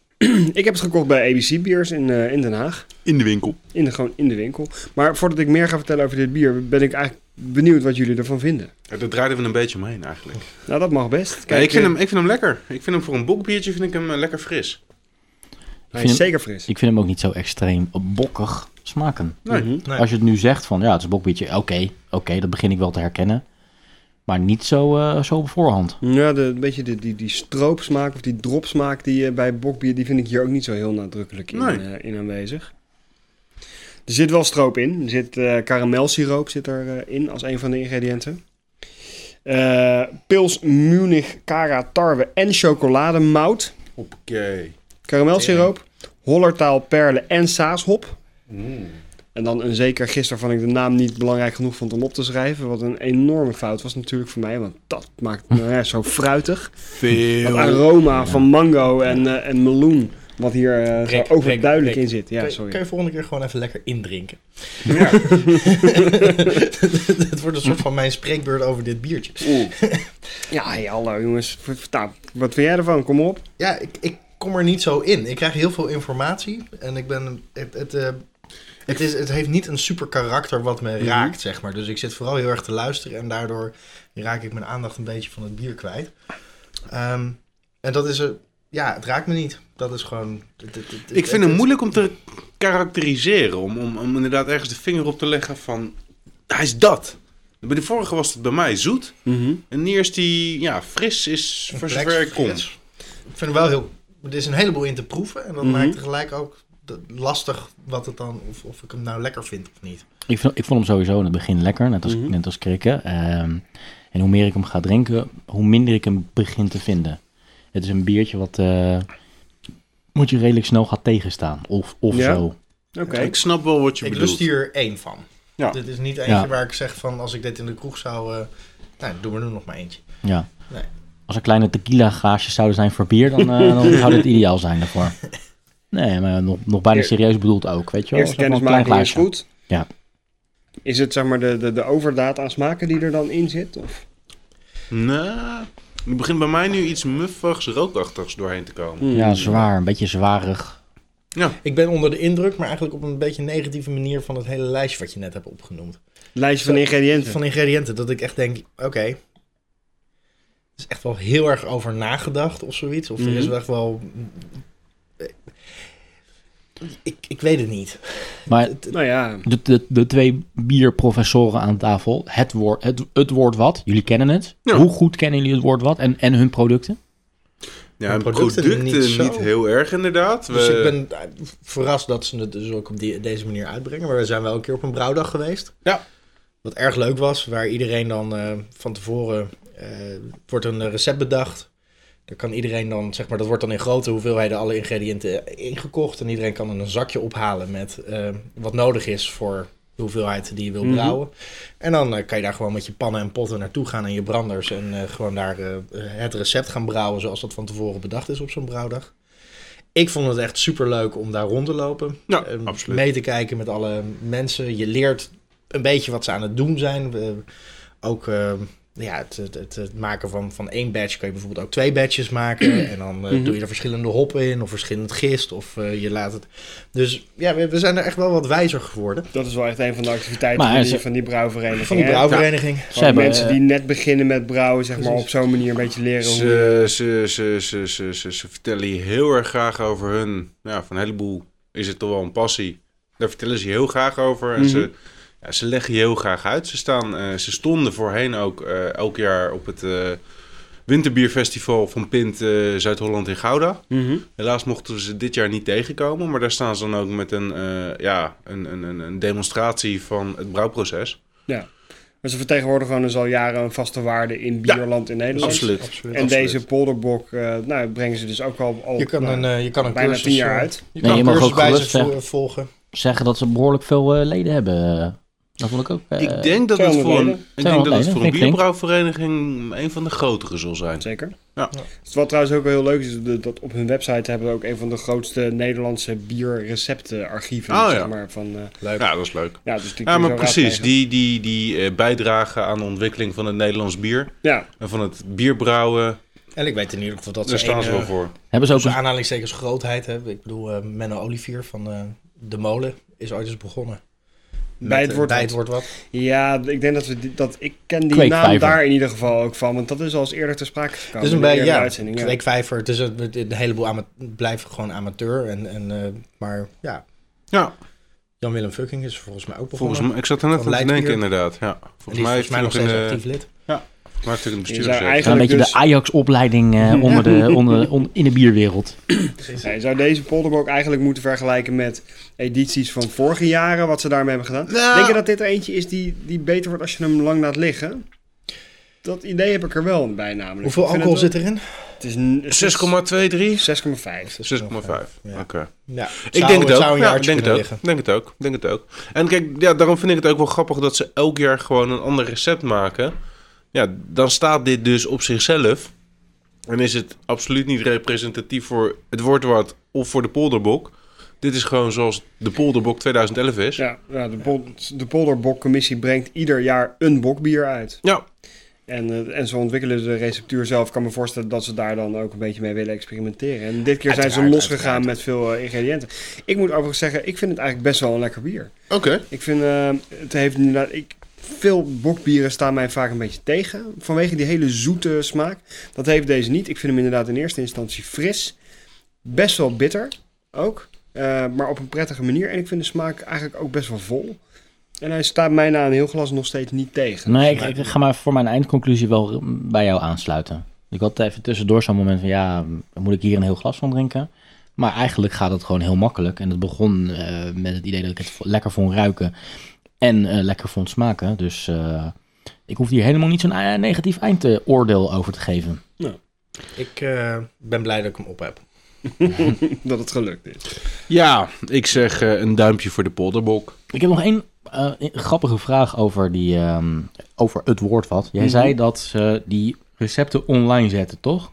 Speaker 2: Ik heb het gekocht bij ABC Beers in, eh, in Den Haag.
Speaker 5: In de winkel.
Speaker 2: In de, gewoon in de winkel. Maar voordat ik meer ga vertellen over dit bier, ben ik eigenlijk benieuwd wat jullie ervan vinden.
Speaker 5: Ja, daar draaiden we een beetje omheen eigenlijk.
Speaker 2: Nou, dat mag best.
Speaker 5: Ja, ik, vind
Speaker 2: eh,
Speaker 5: hem, ik vind hem lekker. Ik vind hem voor een bokbiertje vind ik hem eh, lekker fris.
Speaker 2: Hij
Speaker 1: vind
Speaker 2: is
Speaker 1: hem-
Speaker 2: zeker fris.
Speaker 1: Ik vind hem ook niet zo extreem bokkig smaken.
Speaker 5: Nee.
Speaker 2: Mhm.
Speaker 3: Nee.
Speaker 1: Als je het nu zegt van ja, het is een bokbiertje. Oké, oké, dat begin ik wel te herkennen. Maar niet zo, eh, zo op voorhand.
Speaker 2: Ja, de, een beetje de, die, die stroopsmaak of die dropsmaak die je bij bokbier, die vind ik hier ook niet zo heel nadrukkelijk in,
Speaker 5: Nee.
Speaker 2: eh, in aanwezig. Er zit wel stroop in. Er zit eh karamelsiroop zit er eh, in als een van de ingrediënten. Eh, Pils, Munich, Cara, tarwe en chocolademout.
Speaker 5: Hoppakee.
Speaker 2: Karamelsiroop, hollertaal, perlen en saashop.
Speaker 5: Mm.
Speaker 2: En dan een zeker gisteren van ik de naam niet belangrijk genoeg vond om op te schrijven. Wat een enorme fout was natuurlijk voor mij. Want dat maakt het nou ja, zo fruitig. Dat
Speaker 5: Veel.
Speaker 2: aroma van mango en, eh, en meloen. Wat hier eh,
Speaker 3: Prik,
Speaker 2: zo overduidelijk
Speaker 3: prik,
Speaker 2: in zit. Ja,
Speaker 3: Kun je- Kun
Speaker 2: sorry.
Speaker 3: je volgende keer gewoon even lekker indrinken?
Speaker 5: Ja.
Speaker 3: Het wordt een soort van mijn spreekbeurt over dit biertje.
Speaker 5: Oeh.
Speaker 2: Ja, hey, hallo jongens. V- v- nou, wat vind jij ervan? Kom op.
Speaker 3: Ja, ik, ik kom er niet zo in. Ik krijg heel veel informatie en ik ben... Het, het, eh, het, is, het heeft niet een super karakter wat me
Speaker 5: Mhm.
Speaker 3: raakt, zeg maar. Dus ik zit vooral heel erg te luisteren en daardoor raak ik mijn aandacht een beetje van het bier kwijt. Ehm, en dat is... eh, ja, het raakt me niet. Dat is gewoon... het- het- het-
Speaker 5: Ik vind
Speaker 3: het
Speaker 5: hem
Speaker 3: is-
Speaker 5: moeilijk om te karakteriseren. Om, om, om inderdaad ergens de vinger op te leggen van... Hij is dat. Bij de vorige was het bij mij zoet. En hier is die ja, fris is voor
Speaker 3: complex,
Speaker 5: zover ik kon.
Speaker 3: frits. Ik vind het wel heel... Er is een heleboel in te proeven. En dat
Speaker 2: Mhm.
Speaker 3: maakt tegelijk ook de- lastig wat het dan... Of, of ik hem nou lekker vind of niet.
Speaker 1: Ik, vond- ik vond hem sowieso in het begin lekker, net als,
Speaker 2: Mhm.
Speaker 1: net als krikken. Ehm, en hoe meer ik hem ga drinken, hoe minder ik hem begin te vinden. Het is een biertje wat eh, moet je redelijk snel gaat tegenstaan. Of, of
Speaker 2: Ja?
Speaker 1: zo.
Speaker 2: Oké.
Speaker 5: Ik snap wel wat je
Speaker 3: ik
Speaker 5: bedoelt.
Speaker 3: lust hier één van.
Speaker 5: Ja.
Speaker 3: Dit is niet eentje
Speaker 1: Ja.
Speaker 3: waar ik zeg van... Als ik dit in de kroeg zou... eh, nou, doen we er nog maar eentje.
Speaker 1: Ja.
Speaker 3: Nee.
Speaker 1: Als er kleine tequila glaasjes zouden zijn voor bier, dan, eh, dan zou dit ideaal zijn daarvoor. Nee, maar nog, nog bijna
Speaker 2: Eer-
Speaker 1: serieus bedoeld ook, weet je wel.
Speaker 2: Eerste
Speaker 1: Zeg maar een
Speaker 2: kennismaking is
Speaker 1: glaasje.
Speaker 2: goed.
Speaker 1: Ja.
Speaker 2: Is het zeg maar de, de, de overdaad aan smaken die er dan in zit? Of?
Speaker 5: Nou, er begint bij mij nu iets muffigs, rookachtigs doorheen te komen.
Speaker 1: Ja,
Speaker 2: Mhm.
Speaker 1: zwaar, een beetje zwarig.
Speaker 3: Ik ben onder de indruk, maar eigenlijk op een beetje negatieve manier... van het hele lijstje wat je net hebt opgenoemd.
Speaker 2: Lijstje van ingrediënten.
Speaker 3: Van ingrediënten. Dat ik echt denk, oké... er is echt wel heel erg over nagedacht of zoiets. Of er is
Speaker 2: Mhm.
Speaker 3: echt wel... Ik, ik weet het niet.
Speaker 1: Maar
Speaker 2: Nou ja.
Speaker 1: de, de, de twee bierprofessoren aan tafel, het woord, het, het woord wat, jullie kennen het.
Speaker 5: Ja.
Speaker 1: Hoe goed kennen jullie het woord wat en, en hun producten?
Speaker 5: Ja, en
Speaker 3: producten
Speaker 5: producten,
Speaker 3: niet
Speaker 5: niet,
Speaker 3: zo.
Speaker 5: heel erg inderdaad.
Speaker 3: Dus
Speaker 5: We-
Speaker 3: ik ben eh, verrast dat ze het dus ook op die, deze manier uitbrengen. Maar we zijn wel een keer op een brouwdag geweest.
Speaker 5: Ja.
Speaker 3: Wat erg leuk was, waar iedereen dan eh, van tevoren eh, wordt een eh, recept bedacht. Daar kan iedereen dan, zeg maar, dat wordt dan in grote hoeveelheden alle ingrediënten ingekocht. En iedereen kan dan een zakje ophalen met eh, wat nodig is voor de hoeveelheid die je wil
Speaker 2: Mhm.
Speaker 3: brouwen. En dan eh, kan je daar gewoon met je pannen en potten naartoe gaan en je branders. En eh, gewoon daar eh, het recept gaan brouwen zoals dat van tevoren bedacht is op zo'n brouwdag. Ik vond het echt super leuk om daar rond te lopen.
Speaker 5: Ja,
Speaker 3: Eh,
Speaker 5: Nou, absoluut.
Speaker 3: Mee te kijken met alle mensen. Je leert een beetje wat ze aan het doen zijn. We- ook eh, ja, het, het, het- het maken van, van één batch kan je bijvoorbeeld ook twee batches maken. en dan eh,
Speaker 2: Mhm.
Speaker 3: doe je er verschillende hoppen in of verschillend gist. Of eh, je laat het. Dus ja, we, we zijn er echt wel wat wijzer geworden.
Speaker 2: Dat is wel echt een van de activiteiten
Speaker 1: Maar
Speaker 2: van, die,
Speaker 1: ze-
Speaker 2: van die brouwvereniging.
Speaker 3: Van die
Speaker 2: hè?
Speaker 3: brouwvereniging.
Speaker 1: Ze
Speaker 2: Gewoon
Speaker 1: hebben,
Speaker 2: mensen
Speaker 1: eh,
Speaker 2: die net beginnen met brouwen, zeg maar,
Speaker 3: precies.
Speaker 2: op zo'n manier een beetje leren hoe...
Speaker 5: Ze,
Speaker 3: eh,
Speaker 5: ze, ze, ze, ze, ze, ze vertellen je heel erg graag over hun. Ja, van een heleboel is het toch wel een passie. Daar vertellen ze je heel graag over. En ze,
Speaker 3: Mhm.
Speaker 5: ja, ze leggen je heel graag uit. Ze, staan, eh, ze stonden voorheen ook eh, elk jaar op het eh, winterbierfestival van Pint eh, Zuid-Holland in Gouda. Helaas mochten we ze dit jaar niet tegenkomen. Maar daar staan ze dan ook met een, eh, ja, een, een, een- een demonstratie van het brouwproces.
Speaker 2: Ja. Maar ze vertegenwoordigen gewoon dus al jaren een vaste waarde in bierland in Nederland.
Speaker 5: Absoluut.
Speaker 3: Absoluut.
Speaker 2: En deze polderbok eh, nou, brengen ze dus ook al, al
Speaker 3: Je kan
Speaker 2: nou,
Speaker 3: een, eh, je kan een
Speaker 2: bijna
Speaker 3: cursus,
Speaker 2: tien jaar
Speaker 3: eh,
Speaker 2: uit.
Speaker 3: Je
Speaker 1: Nee,
Speaker 3: kan
Speaker 1: je
Speaker 3: een
Speaker 1: mag
Speaker 3: cursus
Speaker 1: ook
Speaker 3: bij
Speaker 1: gerust,
Speaker 3: ze vo-
Speaker 1: hè.
Speaker 3: volgen.
Speaker 1: Zeggen dat ze behoorlijk veel eh, leden hebben. Dat vond ik ook. eh,
Speaker 5: ik denk dat het
Speaker 2: 200
Speaker 5: voor
Speaker 2: leden.
Speaker 5: een, ik denk dat
Speaker 1: 200
Speaker 5: het voor een
Speaker 1: leden, vind ik.
Speaker 5: bierbrouwvereniging een van de grotere zal zijn.
Speaker 2: Zeker.
Speaker 5: Ja.
Speaker 2: Dus wat trouwens ook wel heel leuk is, de- dat op hun website hebben we ook een van de grootste Nederlandse bierreceptenarchieven.
Speaker 5: Oh, ja.
Speaker 2: zeg maar, van, eh,
Speaker 3: Leuk.
Speaker 5: Ja, dat is leuk.
Speaker 2: ja, dus die kun
Speaker 5: Ja,
Speaker 2: je
Speaker 5: maar
Speaker 2: zo
Speaker 5: precies.
Speaker 2: raadplegen.
Speaker 5: Die, die, die eh, bijdragen aan de ontwikkeling van het Nederlands bier
Speaker 2: Ja,
Speaker 5: en van het bierbrouwen,
Speaker 3: En ik weet in ieder geval dat
Speaker 5: daar
Speaker 3: ze
Speaker 5: staan
Speaker 3: één,
Speaker 5: ze wel
Speaker 3: eh,
Speaker 5: voor.
Speaker 1: hebben ze ook
Speaker 3: tussen
Speaker 1: een,
Speaker 3: aanhalingstekens grootheid hebben. Ik bedoel, eh, Menno Olivier van eh, De Molen is ooit eens begonnen.
Speaker 2: bij het
Speaker 3: eh,
Speaker 2: woord.
Speaker 3: bij
Speaker 2: wat.
Speaker 3: het woord wat.
Speaker 2: Ja, ik denk dat we die- dat ik ken die
Speaker 1: Kweekvijver.
Speaker 2: naam daar in ieder geval ook van, want dat is al eens eerder ter sprake gekomen.
Speaker 3: Het is Dus een
Speaker 2: in de
Speaker 3: beetje,
Speaker 2: eerdere
Speaker 3: ja,
Speaker 2: uitzending, ja.
Speaker 3: kweekvijver. Het is een, een heleboel ama- blijven gewoon amateur. En, en, eh, maar ja,
Speaker 5: Ja,
Speaker 3: Jan-Willem Fucking is volgens mij ook begonnen.
Speaker 5: volgens mij, ik zat er net
Speaker 3: Van
Speaker 5: aan te
Speaker 3: Leidbier.
Speaker 5: denken inderdaad. Ja,
Speaker 3: En
Speaker 5: volgens
Speaker 3: die is
Speaker 5: mij
Speaker 3: volgens
Speaker 5: heeft
Speaker 3: mij
Speaker 5: hij
Speaker 3: nog
Speaker 5: nog een,
Speaker 3: steeds
Speaker 5: eh,
Speaker 3: actief lid.
Speaker 5: maakt ook een
Speaker 2: Je zou
Speaker 5: bestuurder.
Speaker 2: eigenlijk-
Speaker 1: een beetje
Speaker 2: dus-
Speaker 1: de Ajax-opleiding eh, onder de, onder, on- in de bierwereld?
Speaker 2: Ja, je zou deze polderboek eigenlijk moeten vergelijken met edities van vorige jaren, wat ze daarmee hebben gedaan.
Speaker 5: Nou.
Speaker 2: Denk je dat dit er eentje is die, die beter wordt als je hem lang laat liggen? Dat idee heb ik er wel bij namelijk.
Speaker 3: Hoeveel
Speaker 2: Ik vind
Speaker 3: alcohol
Speaker 2: het
Speaker 3: zit erin?
Speaker 2: wel- Het is
Speaker 5: 6,23?
Speaker 2: 6,5.
Speaker 5: 6,5
Speaker 3: Ja.
Speaker 5: Oké.
Speaker 3: Ja,
Speaker 5: Ik denk het
Speaker 3: Zou
Speaker 5: ook.
Speaker 3: een
Speaker 5: Ja,
Speaker 3: jaartje
Speaker 5: ik denk het
Speaker 3: kunnen
Speaker 5: ook.
Speaker 3: liggen.
Speaker 5: Ik denk het ook. Ik Denk het ook. En kijk, ja, daarom vind ik het ook wel grappig dat ze elk jaar gewoon een ander recept maken. Ja, dan staat dit dus op zichzelf. En is het absoluut niet representatief voor het woordwoord of voor de polderbok. Dit is gewoon zoals de polderbok 2011 is. Ja,
Speaker 2: Ja, ja, de, pol- de polderbokcommissie brengt ieder jaar een bokbier uit. En, eh, en ze ontwikkelen de receptuur zelf. Ik kan me voorstellen dat ze daar dan ook een beetje mee willen experimenteren. En dit keer zijn
Speaker 3: Uiteraard,
Speaker 2: ze losgegaan met veel eh, ingrediënten. Ik moet overigens zeggen, ik vind het eigenlijk best wel een lekker bier.
Speaker 5: oké.
Speaker 2: Ik vind, eh, het heeft inderdaad, ik, veel bokbieren staan mij vaak een beetje tegen. Vanwege die hele zoete smaak. Dat heeft deze niet. Ik vind hem inderdaad in eerste instantie fris. Best wel bitter ook. eh, maar op een prettige manier. En ik vind de smaak eigenlijk ook best wel vol. En hij staat mij na een heel glas nog steeds niet tegen.
Speaker 1: Nee, ik, ik ga maar voor mijn eindconclusie wel bij jou aansluiten. Ik had even tussendoor zo'n moment van ja, moet ik hier een heel glas van drinken? Maar eigenlijk gaat het gewoon heel makkelijk. En het begon eh, met het idee dat ik het vo- lekker vond ruiken en eh, lekker vond smaken. Dus eh, ik hoef hier helemaal niet zo'n eh, negatief eindoordeel over te geven.
Speaker 3: Ik eh, ben blij dat ik hem op heb.
Speaker 2: Dat het gelukt is.
Speaker 5: Ja, ik zeg eh, een duimpje voor de polderbok.
Speaker 1: Ik heb nog één eh, grappige vraag over, die, ehm, over het woord wat. Jij zei dat ze die recepten online zetten, toch?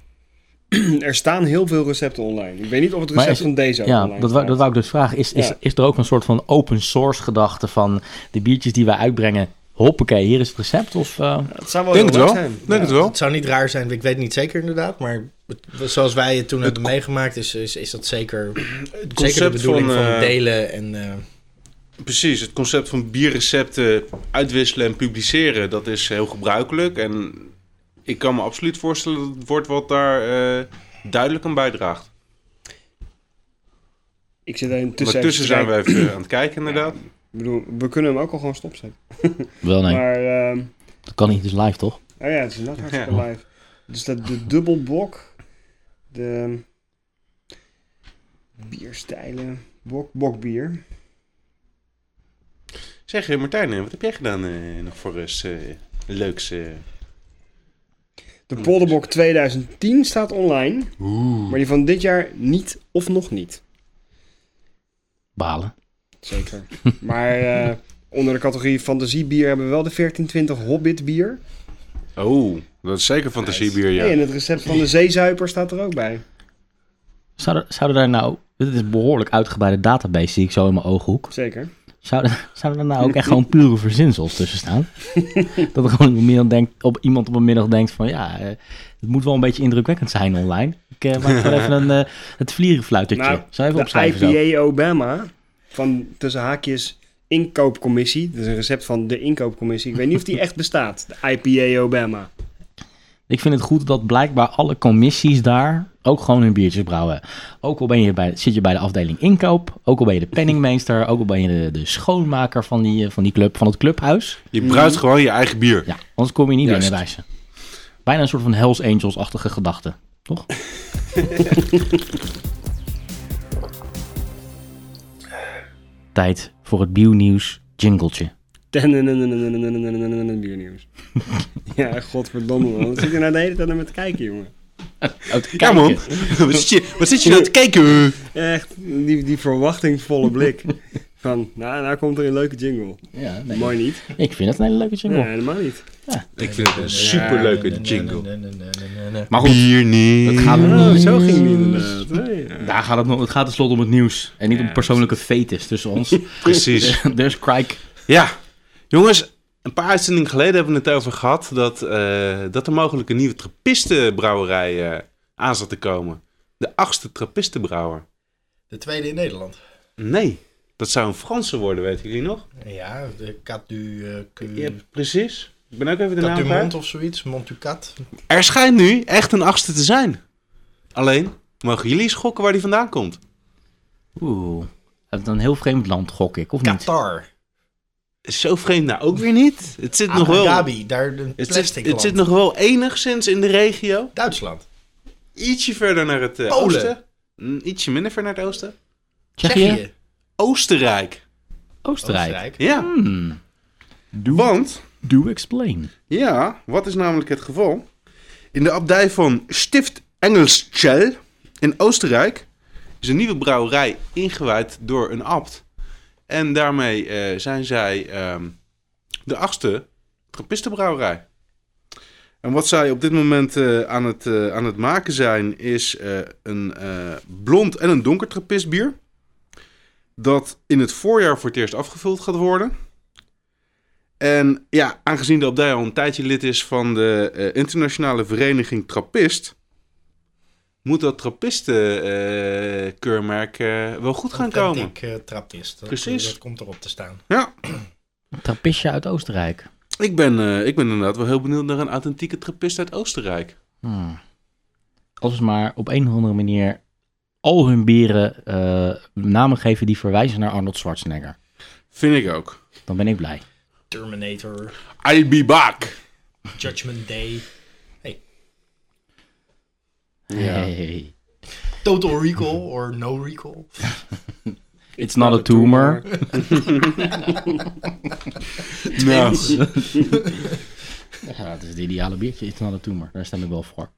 Speaker 2: er staan heel veel recepten online. Ik weet niet of het
Speaker 1: Maar
Speaker 2: recept
Speaker 1: is-
Speaker 2: van deze ook
Speaker 1: Ja,
Speaker 2: online
Speaker 1: dat wou,
Speaker 2: staat.
Speaker 1: dat wou ik dus vragen. Is, is,
Speaker 2: Ja.
Speaker 1: is er ook een soort van open source gedachte van de biertjes die wij uitbrengen? Hoppakee, hier is het recept. Of, eh,
Speaker 2: Het zou wel
Speaker 5: Denk
Speaker 2: heel
Speaker 5: het
Speaker 2: leuk
Speaker 5: wel.
Speaker 2: zijn.
Speaker 5: Denk
Speaker 2: Ja.
Speaker 5: het wel.
Speaker 3: Het zou niet raar zijn, ik weet niet zeker inderdaad. Maar het- zoals wij het toen hebben meegemaakt, is, is, is dat zeker, zeker de
Speaker 5: concept
Speaker 3: bedoeling van,
Speaker 5: van, eh,
Speaker 3: delen. En, eh,
Speaker 5: Precies, het concept van bierrecepten uitwisselen en publiceren, dat is heel gebruikelijk. En ik kan me absoluut voorstellen dat het wordt wat daar eh, duidelijk aan bijdraagt.
Speaker 2: Ik zit er intussen
Speaker 5: Maar tussen
Speaker 2: even te
Speaker 5: zijn we
Speaker 2: kijken.
Speaker 5: even aan het kijken inderdaad.
Speaker 2: Ik bedoel, we kunnen hem ook al gewoon stopzetten.
Speaker 1: wel nee,
Speaker 2: Maar... ehm,
Speaker 1: dat kan niet, het is live toch?
Speaker 2: Oh ja, het is inderdaad hartstikke
Speaker 5: Ja.
Speaker 2: live. Dus dat de dubbelbok, de bierstijlen, bok, bokbier.
Speaker 5: Zeg eh, Martijn, eh, wat heb jij gedaan eh, nog voor eens eh, leuks? eh?
Speaker 2: De
Speaker 5: Oh,
Speaker 2: polderbok 2010 staat online, maar die van dit jaar niet of nog niet.
Speaker 1: Balen.
Speaker 2: Zeker. Maar eh, onder de categorie fantasiebier hebben we wel de 1420 Hobbit bier.
Speaker 5: Oh, dat is zeker fantasiebier, ja.
Speaker 2: en het recept van de zeezuiper staat er ook bij.
Speaker 1: Zouden, zouden daar nou... Dit is een behoorlijk uitgebreide database die ik zo in mijn ooghoek.
Speaker 2: Zeker.
Speaker 1: Zouden, zouden er nou ook echt gewoon pure verzinsels tussen staan? dat er gewoon op, middag denkt, op iemand op een middag denkt van... Ja, eh, het moet wel een beetje indrukwekkend zijn online. Ik eh, maak gewoon even een, eh, het vlierenfluitertje.
Speaker 2: Nou,
Speaker 1: Zou even
Speaker 2: de
Speaker 1: opschrijven zo.
Speaker 2: IPA Obama van tussen haakjes inkoopcommissie. Dat is een recept van de inkoopcommissie. Ik weet niet of die echt bestaat. De IPA Obama.
Speaker 1: Ik vind het goed dat blijkbaar alle commissies daar ook gewoon hun biertjes brouwen. Ook al ben je bij, zit je bij de afdeling inkoop, ook al ben je de penningmeester, ook al ben je de, de schoonmaker van die, eh, van die club, van het clubhuis.
Speaker 5: Je bruikt gewoon je eigen bier.
Speaker 1: Ja, anders kom je niet
Speaker 5: Juist.
Speaker 1: binnen bij ze. Bijna een soort van Hells Angels-achtige gedachte, toch? Tijd voor het biernieuws jingletje.
Speaker 2: Biernieuws. Ja, godverdomme man. Wat zit je nou de hele tijd naar me te kijken, jongen?
Speaker 1: Oh, te
Speaker 5: Ja, man.
Speaker 1: kijken.
Speaker 5: wat, zit je, wat zit je nou te kijken?
Speaker 2: Echt, die, die verwachtingsvolle blik. Van, nou, nou komt er een leuke jingle.
Speaker 1: Ja, nee.
Speaker 2: Mooi niet.
Speaker 1: Ik vind het een hele leuke jingle.
Speaker 2: Nee, helemaal niet.
Speaker 5: Ik vind het een superleuke jingle.
Speaker 1: Maar goed,
Speaker 5: Bier niet.
Speaker 1: het gaat,
Speaker 2: Oh, zo ging het inderdaad. Nee, ja.
Speaker 1: daar gaat het, nog- het gaat tenslotte om het nieuws. En niet om persoonlijke fetes tussen ons.
Speaker 5: Precies.
Speaker 1: There's Crike.
Speaker 5: Ja, jongens, een paar uitzendingen geleden hebben we het over gehad dat, eh, dat er mogelijk een nieuwe trappistenbrouwerij eh, aan zat te komen. De achtste trappistenbrouwer.
Speaker 3: De tweede in Nederland.
Speaker 5: Nee, dat zou een Franse worden, weten jullie nog?
Speaker 3: Mm. Ja, de Cat du... eh Cu-
Speaker 5: Ja, precies. Ik ben ook even de
Speaker 3: Cat du
Speaker 5: naam
Speaker 3: Mont
Speaker 5: kwijt.
Speaker 3: of zoiets, Montucat.
Speaker 5: Er schijnt nu echt een achtste te zijn. Alleen, mogen jullie eens gokken waar die vandaan komt?
Speaker 1: Oeh. Dat is een heel vreemd land, gok ik, of niet?
Speaker 3: Qatar.
Speaker 5: Zo vreemd nou ook weer niet. Het zit nog
Speaker 3: Abu
Speaker 5: wel...
Speaker 3: Dhabi, daar een
Speaker 5: Het
Speaker 3: plastic
Speaker 5: zit, het
Speaker 3: land.
Speaker 5: zit nog wel enigszins in de regio.
Speaker 3: Duitsland.
Speaker 5: Ietsje verder naar het eh,
Speaker 3: Polen.
Speaker 5: oosten. Mm, Ietsje minder ver naar het oosten.
Speaker 1: Tsjechië?
Speaker 5: Oostenrijk.
Speaker 1: Oostenrijk.
Speaker 3: Oostenrijk.
Speaker 5: Ja.
Speaker 1: Hmm.
Speaker 5: Want,
Speaker 1: Do explain.
Speaker 5: ja, wat is namelijk het geval? In de abdij van Stift Engelschel in Oostenrijk is een nieuwe brouwerij ingewijd door een abt. En daarmee eh, zijn zij ehm, de achtste trappistenbrouwerij. En wat zij op dit moment eh, aan, het, eh, aan het maken zijn, is eh, een eh, blond en een donker trappistbier. Dat in het voorjaar voor het eerst afgevuld gaat worden. En ja, aangezien de abdij al een tijdje lid is van de eh, internationale vereniging Trappist, moet dat Trappisten-keurmerk eh, wel goed gaan komen.
Speaker 3: Authentiek eh, trappist. Dat,
Speaker 5: Precies.
Speaker 3: Dat komt erop te staan.
Speaker 5: Ja,
Speaker 1: Trappistje uit Oostenrijk.
Speaker 5: ik ben, eh, ik ben inderdaad wel heel benieuwd naar een authentieke Trappist uit Oostenrijk.
Speaker 1: Hmm. Als ze maar op een of andere manier al hun bieren eh, namen geven die verwijzen naar Arnold Schwarzenegger.
Speaker 5: Vind ik ook.
Speaker 1: Dan ben ik blij.
Speaker 3: Terminator,
Speaker 5: I'll be back.
Speaker 3: Judgment Day,
Speaker 1: Hey.
Speaker 3: Total Recall or No Recall.
Speaker 1: It's not a tumor.
Speaker 5: Nou,
Speaker 1: Ja, dat is het ideale biertje. It's not a tumor. Daar stem ik wel voor.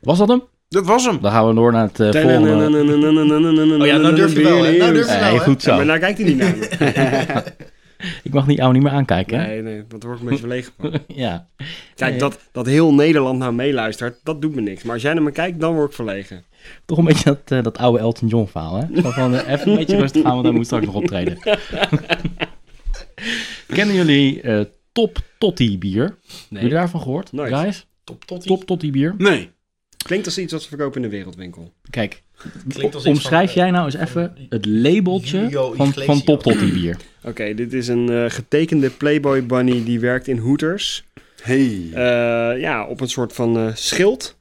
Speaker 1: Was dat hem?
Speaker 5: dat was hem.
Speaker 1: Dan gaan we door naar het eh, volgende.
Speaker 2: Oh
Speaker 3: Oh ja, nou durf je wel, hè? Nou durf je wel,
Speaker 1: Hey,
Speaker 3: hè?
Speaker 1: goed
Speaker 2: Ja, maar
Speaker 1: zo.
Speaker 2: nou kijkt hij niet naar me.
Speaker 1: Ik mag die jou niet meer aankijken. hè?
Speaker 2: Nee, nee, dat wordt een beetje leeg.
Speaker 1: Ja.
Speaker 2: Kijk, dat, dat heel Nederland naar meeluistert, dat doet me niks. Maar als jij naar me kijkt, dan word ik verlegen.
Speaker 1: Toch een beetje dat, eh, dat oude Elton John verhaal, hè? Zo Van, eh, even een beetje rustig aan, want hij moet straks nog optreden. Kennen jullie eh, Top Totti bier? Hebben jullie daarvan gehoord,
Speaker 2: Nooit.
Speaker 1: guys?
Speaker 3: Top tot
Speaker 1: Top Totti bier.
Speaker 5: Nee.
Speaker 2: Klinkt als iets wat ze verkopen in de wereldwinkel.
Speaker 1: Kijk,
Speaker 3: Klinkt als iets
Speaker 1: omschrijf
Speaker 3: van, eh,
Speaker 1: jij nou eens even het labeltje
Speaker 3: Julio
Speaker 1: van, van
Speaker 3: Iglesias.
Speaker 1: Top Totti bier.
Speaker 2: Oké, dit is een eh, getekende Playboy Bunny die werkt in Hooters.
Speaker 5: Hey.
Speaker 2: Eh, ja, op een soort van eh, schild.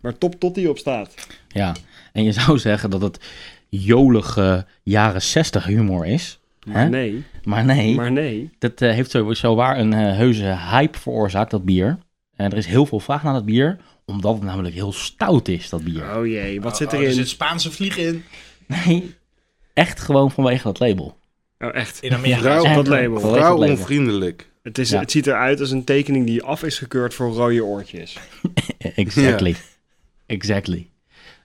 Speaker 2: Waar Top Totti op staat.
Speaker 1: Ja, en je zou zeggen dat het jolige jaren 60 humor is.
Speaker 2: Maar
Speaker 1: Hè?
Speaker 2: nee,
Speaker 1: Maar nee,
Speaker 2: maar nee.
Speaker 1: dat eh, heeft sowieso waar een eh, heuse hype veroorzaakt, dat bier. En er is heel veel vraag naar dat bier, omdat het namelijk heel stout is, dat bier.
Speaker 2: Oh jee, wat zit
Speaker 3: Oh, Er
Speaker 2: erin?
Speaker 3: zit Spaanse vliegen in.
Speaker 1: Nee, echt gewoon vanwege dat label.
Speaker 2: Oh, echt.
Speaker 3: In Amerika.
Speaker 5: Vrouw,
Speaker 2: Op dat
Speaker 1: Echt,
Speaker 2: label.
Speaker 1: vanwege dat
Speaker 5: vrouw
Speaker 1: label.
Speaker 5: onvriendelijk.
Speaker 2: Het, is,
Speaker 1: Ja.
Speaker 2: het ziet eruit als een tekening die af is gekeurd voor rode oortjes.
Speaker 1: Exactly. Exactly.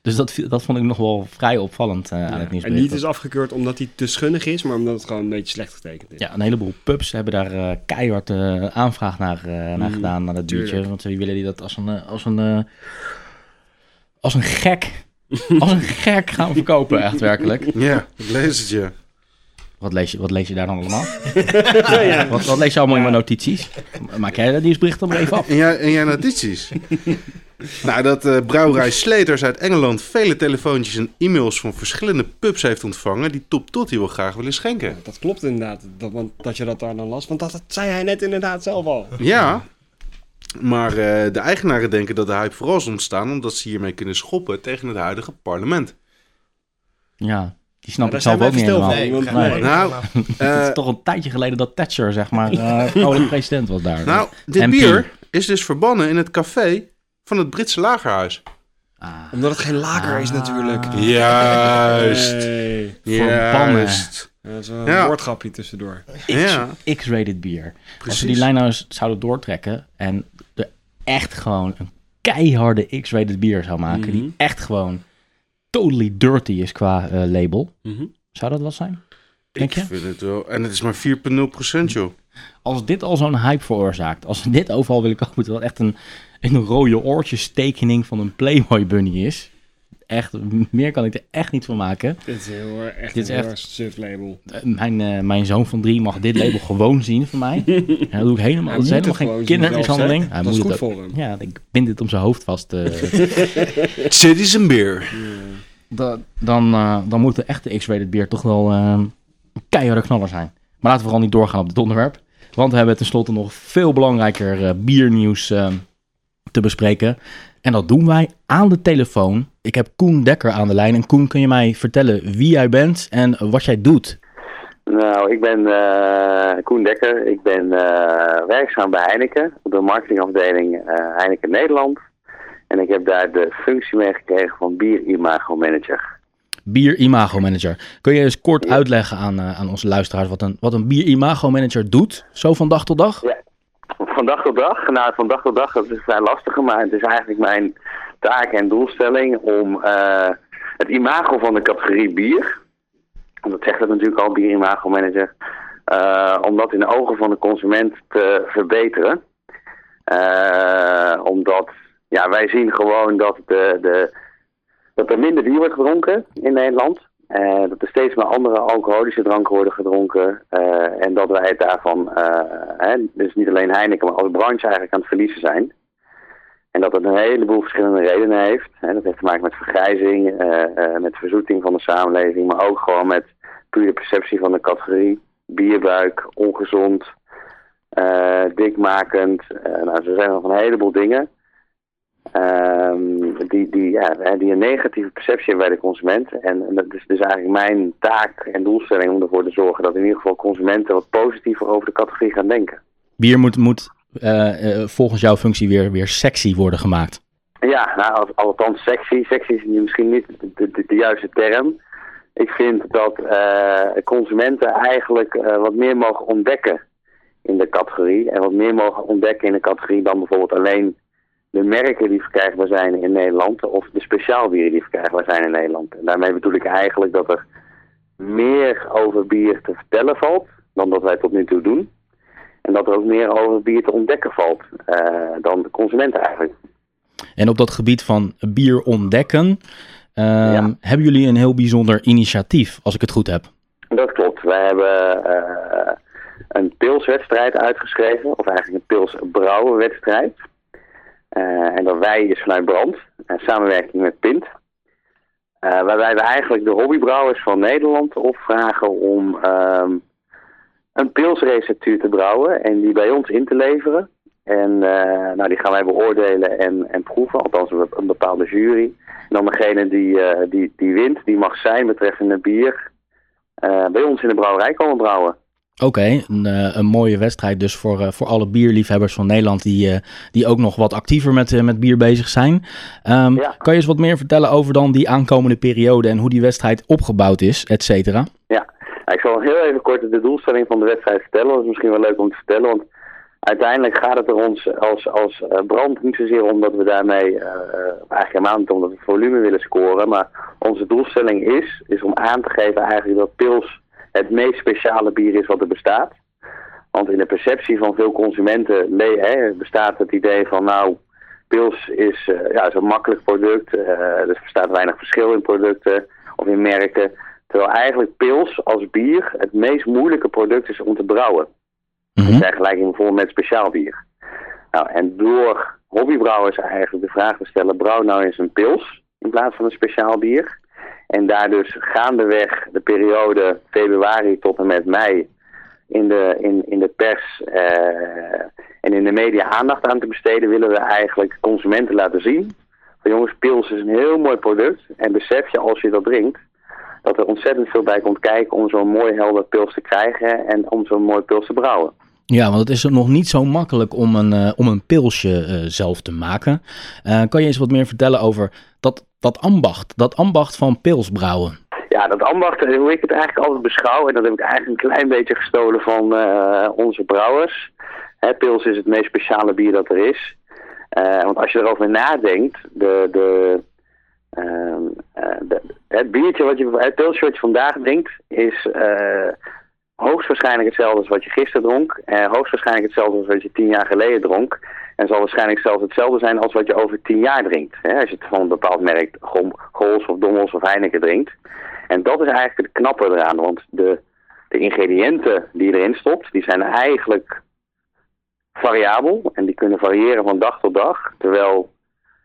Speaker 1: Dus dat, viel- dat vond ik nog wel vrij opvallend eh, aan het
Speaker 2: en
Speaker 1: nieuwsbericht.
Speaker 2: niet is afgekeurd omdat hij te schunnig is, maar omdat het gewoon een beetje slecht getekend is.
Speaker 1: Ja, een heleboel pubs hebben daar eh, keihard eh, aanvraag naar, eh, naar gedaan, naar dat biertje.
Speaker 2: Mm, tuurlijk.
Speaker 1: Want die willen die dat als een, eh, als een, eh, als een gek, als een gek gaan verkopen, echt werkelijk.
Speaker 5: Ja, ik lees het je.
Speaker 1: Wat lees je, wat lees je daar dan allemaal? Wat, wat lees je allemaal in mijn notities? Maak jij dat nieuwsbericht dan maar even af.
Speaker 5: En jij, en jij notities? nou, dat eh, brouwerij Sleters uit Engeland vele telefoontjes en e-mails van verschillende pubs heeft ontvangen die Top Totti wel graag willen schenken.
Speaker 2: Dat klopt inderdaad, dat, want, dat je dat daar dan las. Want dat, dat zei hij net inderdaad zelf al.
Speaker 5: Ja, maar eh, de eigenaren denken dat de hype vooral is ontstaan omdat ze hiermee kunnen schoppen tegen het huidige parlement.
Speaker 1: Ja, die
Speaker 2: Nou,
Speaker 1: snap
Speaker 2: daar
Speaker 1: ik zelf
Speaker 2: zijn we
Speaker 1: ook
Speaker 2: even
Speaker 1: niet
Speaker 2: stil
Speaker 1: helemaal.
Speaker 2: van.
Speaker 1: Het
Speaker 2: want-
Speaker 3: begrijp
Speaker 2: nee.
Speaker 3: ik.
Speaker 5: Nou,
Speaker 3: Maar
Speaker 5: Eh,
Speaker 1: is toch een tijdje geleden dat Thatcher, zeg maar, eh vrouwelijk president was daar.
Speaker 5: nou, dit
Speaker 1: MP.
Speaker 5: bier is dus verbannen in het café van het Britse lagerhuis.
Speaker 1: Ah,
Speaker 2: Omdat het geen laker is natuurlijk.
Speaker 1: Ah.
Speaker 5: Juist.
Speaker 2: Hey.
Speaker 1: Eh, Verbannen.
Speaker 5: Juist.
Speaker 2: Dat is een
Speaker 5: Ja.
Speaker 2: woordgrapje tussendoor.
Speaker 5: Ja,
Speaker 1: X-rated bier. Als we
Speaker 5: precies.
Speaker 1: die lijn nou eens zouden doortrekken en er echt gewoon een keiharde X-rated bier zou maken,
Speaker 5: Mhm.
Speaker 1: die echt gewoon totally dirty is qua eh, label,
Speaker 5: Mhm.
Speaker 1: zou dat wat zijn? Denk
Speaker 5: Ik
Speaker 1: je?
Speaker 5: vind het wel. En het is maar 4,0% joh.
Speaker 1: Als dit al zo'n hype veroorzaakt, als dit overal willen komen, terwijl het echt een, een rode oortjes tekening van een Playboy bunny is. Echt, meer kan ik er echt niet van maken.
Speaker 2: Dit is heel erg echt
Speaker 1: Dit is
Speaker 2: een
Speaker 1: echt-
Speaker 2: heel erg suf label.
Speaker 1: Eh, Mijn, eh, mijn zoon van drie mag dit label gewoon zien van mij. En dat doe ik helemaal, dat is
Speaker 2: Hij moet
Speaker 1: helemaal
Speaker 2: het gewoon
Speaker 1: geen
Speaker 2: zien
Speaker 1: kindermishandeling.
Speaker 2: zelf, hè?
Speaker 1: Hij
Speaker 2: Dat
Speaker 1: moet
Speaker 2: is
Speaker 1: het
Speaker 2: goed
Speaker 1: ook.
Speaker 2: voor hem.
Speaker 1: Ja, ik bind dit om zijn hoofd vast. eh,
Speaker 5: Citizen Beer.
Speaker 1: Da- dan, eh, dan moet de echte X-rated bier toch wel eh, een keiharde knaller zijn. Maar laten we vooral niet doorgaan op dit onderwerp. Want we hebben tenslotte nog veel belangrijker eh, biernieuws eh, te bespreken. En dat doen wij aan de telefoon. Ik heb Koen Dekker aan de lijn. En Koen, kun je mij vertellen wie jij bent en wat jij doet?
Speaker 6: Nou, ik ben eh, Koen Dekker. Ik ben eh, werkzaam bij Heineken op de marketingafdeling eh, Heineken Nederland. En ik heb daar de functie mee gekregen van bierimago manager.
Speaker 1: Bier Imago Manager. Kun je eens kort uitleggen aan, eh, aan onze luisteraars wat een, wat een bier Imago Manager doet? Zo van dag tot dag?
Speaker 6: Van dag tot dag, nou van dag tot dag, dat is vrij lastig, maar het is eigenlijk mijn taak en doelstelling om eh, het imago van de categorie bier, want dat zegt het natuurlijk al, bierimago manager, eh, om dat in de ogen van de consument te verbeteren. Eh, omdat ja, wij zien gewoon dat, de, de, dat er minder bier wordt gedronken in Nederland. Eh, dat er steeds meer andere alcoholische dranken worden gedronken. eh, en dat wij het daarvan, eh, hè, dus niet alleen Heineken, maar als branche eigenlijk aan het verliezen zijn. En dat het een heleboel verschillende redenen heeft. Hè, dat heeft te maken met vergrijzing, eh, eh, met verzoeting van de samenleving, maar ook gewoon met pure perceptie van de categorie. Bierbuik, ongezond, eh, dikmakend. Eh, nou, zo zijn er nog een heleboel dingen. Ehm, die, die, ja, hè, die een negatieve perceptie hebben bij de consument. En, en dat is dus eigenlijk mijn taak en doelstelling om ervoor te zorgen dat in ieder geval consumenten wat positiever over de categorie gaan denken.
Speaker 1: Bier moet, moet eh, eh, volgens jouw functie weer, weer sexy worden gemaakt.
Speaker 6: Ja, nou, al- althans sexy. Sexy is misschien niet de, de- de juiste term. Ik vind dat eh, consumenten eigenlijk eh, wat meer mogen ontdekken in de categorie. En wat meer mogen ontdekken in de categorie dan bijvoorbeeld alleen de merken die verkrijgbaar zijn in Nederland. Of de speciaalbieren die verkrijgbaar zijn in Nederland. En daarmee bedoel ik eigenlijk dat er meer over bier te vertellen valt dan dat wij tot nu toe doen. En dat er ook meer over bier te ontdekken valt eh, dan de consumenten eigenlijk.
Speaker 1: En op dat gebied van bier ontdekken, ehm,
Speaker 6: Ja.
Speaker 1: hebben jullie een heel bijzonder initiatief, als ik het goed heb.
Speaker 6: Dat klopt. Wij hebben eh, een pilswedstrijd uitgeschreven, of eigenlijk een pilsbrouwenwedstrijd. Eh, en dat wij is vanuit Brand, en samenwerking met Pint. Eh, waarbij we eigenlijk de hobbybrouwers van Nederland opvragen om ehm, een pilsreceptuur te brouwen en die bij ons in te leveren. En eh, nou, die gaan wij beoordelen en, en proeven, althans een een bepaalde jury. En dan degene die, eh, die, die wint, die mag zijn betreffende bier eh, bij ons in de brouwerij komen brouwen.
Speaker 1: Oké, een, eh, een mooie wedstrijd dus voor, eh, voor alle bierliefhebbers van Nederland die, eh, die ook nog wat actiever met, eh, met bier bezig zijn. Ehm,
Speaker 6: Ja.
Speaker 1: Kan je eens wat meer vertellen over dan die aankomende periode en hoe die wedstrijd opgebouwd is, et cetera?
Speaker 6: Ja, ik zal heel even kort de doelstelling van de wedstrijd vertellen. Dat is misschien wel leuk om te vertellen, want uiteindelijk gaat het er ons als, als eh, brand niet zozeer om dat we daarmee, eh, eh, eigenlijk helemaal niet omdat we volume willen scoren, maar onze doelstelling is, is om aan te geven eigenlijk dat pils het meest speciale bier is wat er bestaat. Want in de perceptie van veel consumenten le- hè, bestaat het idee van nou, pils is, eh, ja, is een makkelijk product, eh dus er bestaat weinig verschil in producten of in merken. Terwijl eigenlijk pils als bier het meest moeilijke product is om te brouwen.
Speaker 1: Mhm.
Speaker 6: In vergelijking bijvoorbeeld met speciaal bier. Nou, en door hobbybrouwers eigenlijk de vraag te stellen: brouw nou eens een pils in plaats van een speciaal bier. En daar dus gaandeweg de periode februari tot en met mei in de, in, in de pers eh, en in de media aandacht aan te besteden, willen we eigenlijk consumenten laten zien. Van jongens, pils is een heel mooi product. En besef je als je dat drinkt, dat er ontzettend veel bij komt kijken om zo'n mooi helder pils te krijgen en om zo'n mooi pils te brouwen.
Speaker 1: Ja, want het is nog niet zo makkelijk om een, eh, om een pilsje eh, zelf te maken. Eh, kan je eens wat meer vertellen over dat, dat ambacht? Dat ambacht van pilsbrouwen.
Speaker 6: Ja, dat ambacht, eh, hoe ik het eigenlijk altijd beschouw, en dat heb ik eigenlijk een klein beetje gestolen van eh, onze brouwers. Hè, Pils is het meest speciale bier dat er is. Eh, want als je erover nadenkt, de, de, ehm, eh, de- het biertje wat je, het pilsje wat je vandaag drinkt, is eh, hoogstwaarschijnlijk hetzelfde als wat je gisteren dronk. En hoogstwaarschijnlijk hetzelfde als wat je tien jaar geleden dronk. En zal waarschijnlijk zelfs hetzelfde zijn als wat je over tien jaar drinkt. Hè, als je het van een bepaald merk, Gom- Gols of Dommels of Heineken drinkt. En dat is eigenlijk het knappe eraan, want de, de ingrediënten die je erin stopt, die zijn eigenlijk variabel en die kunnen variëren van dag tot dag. Terwijl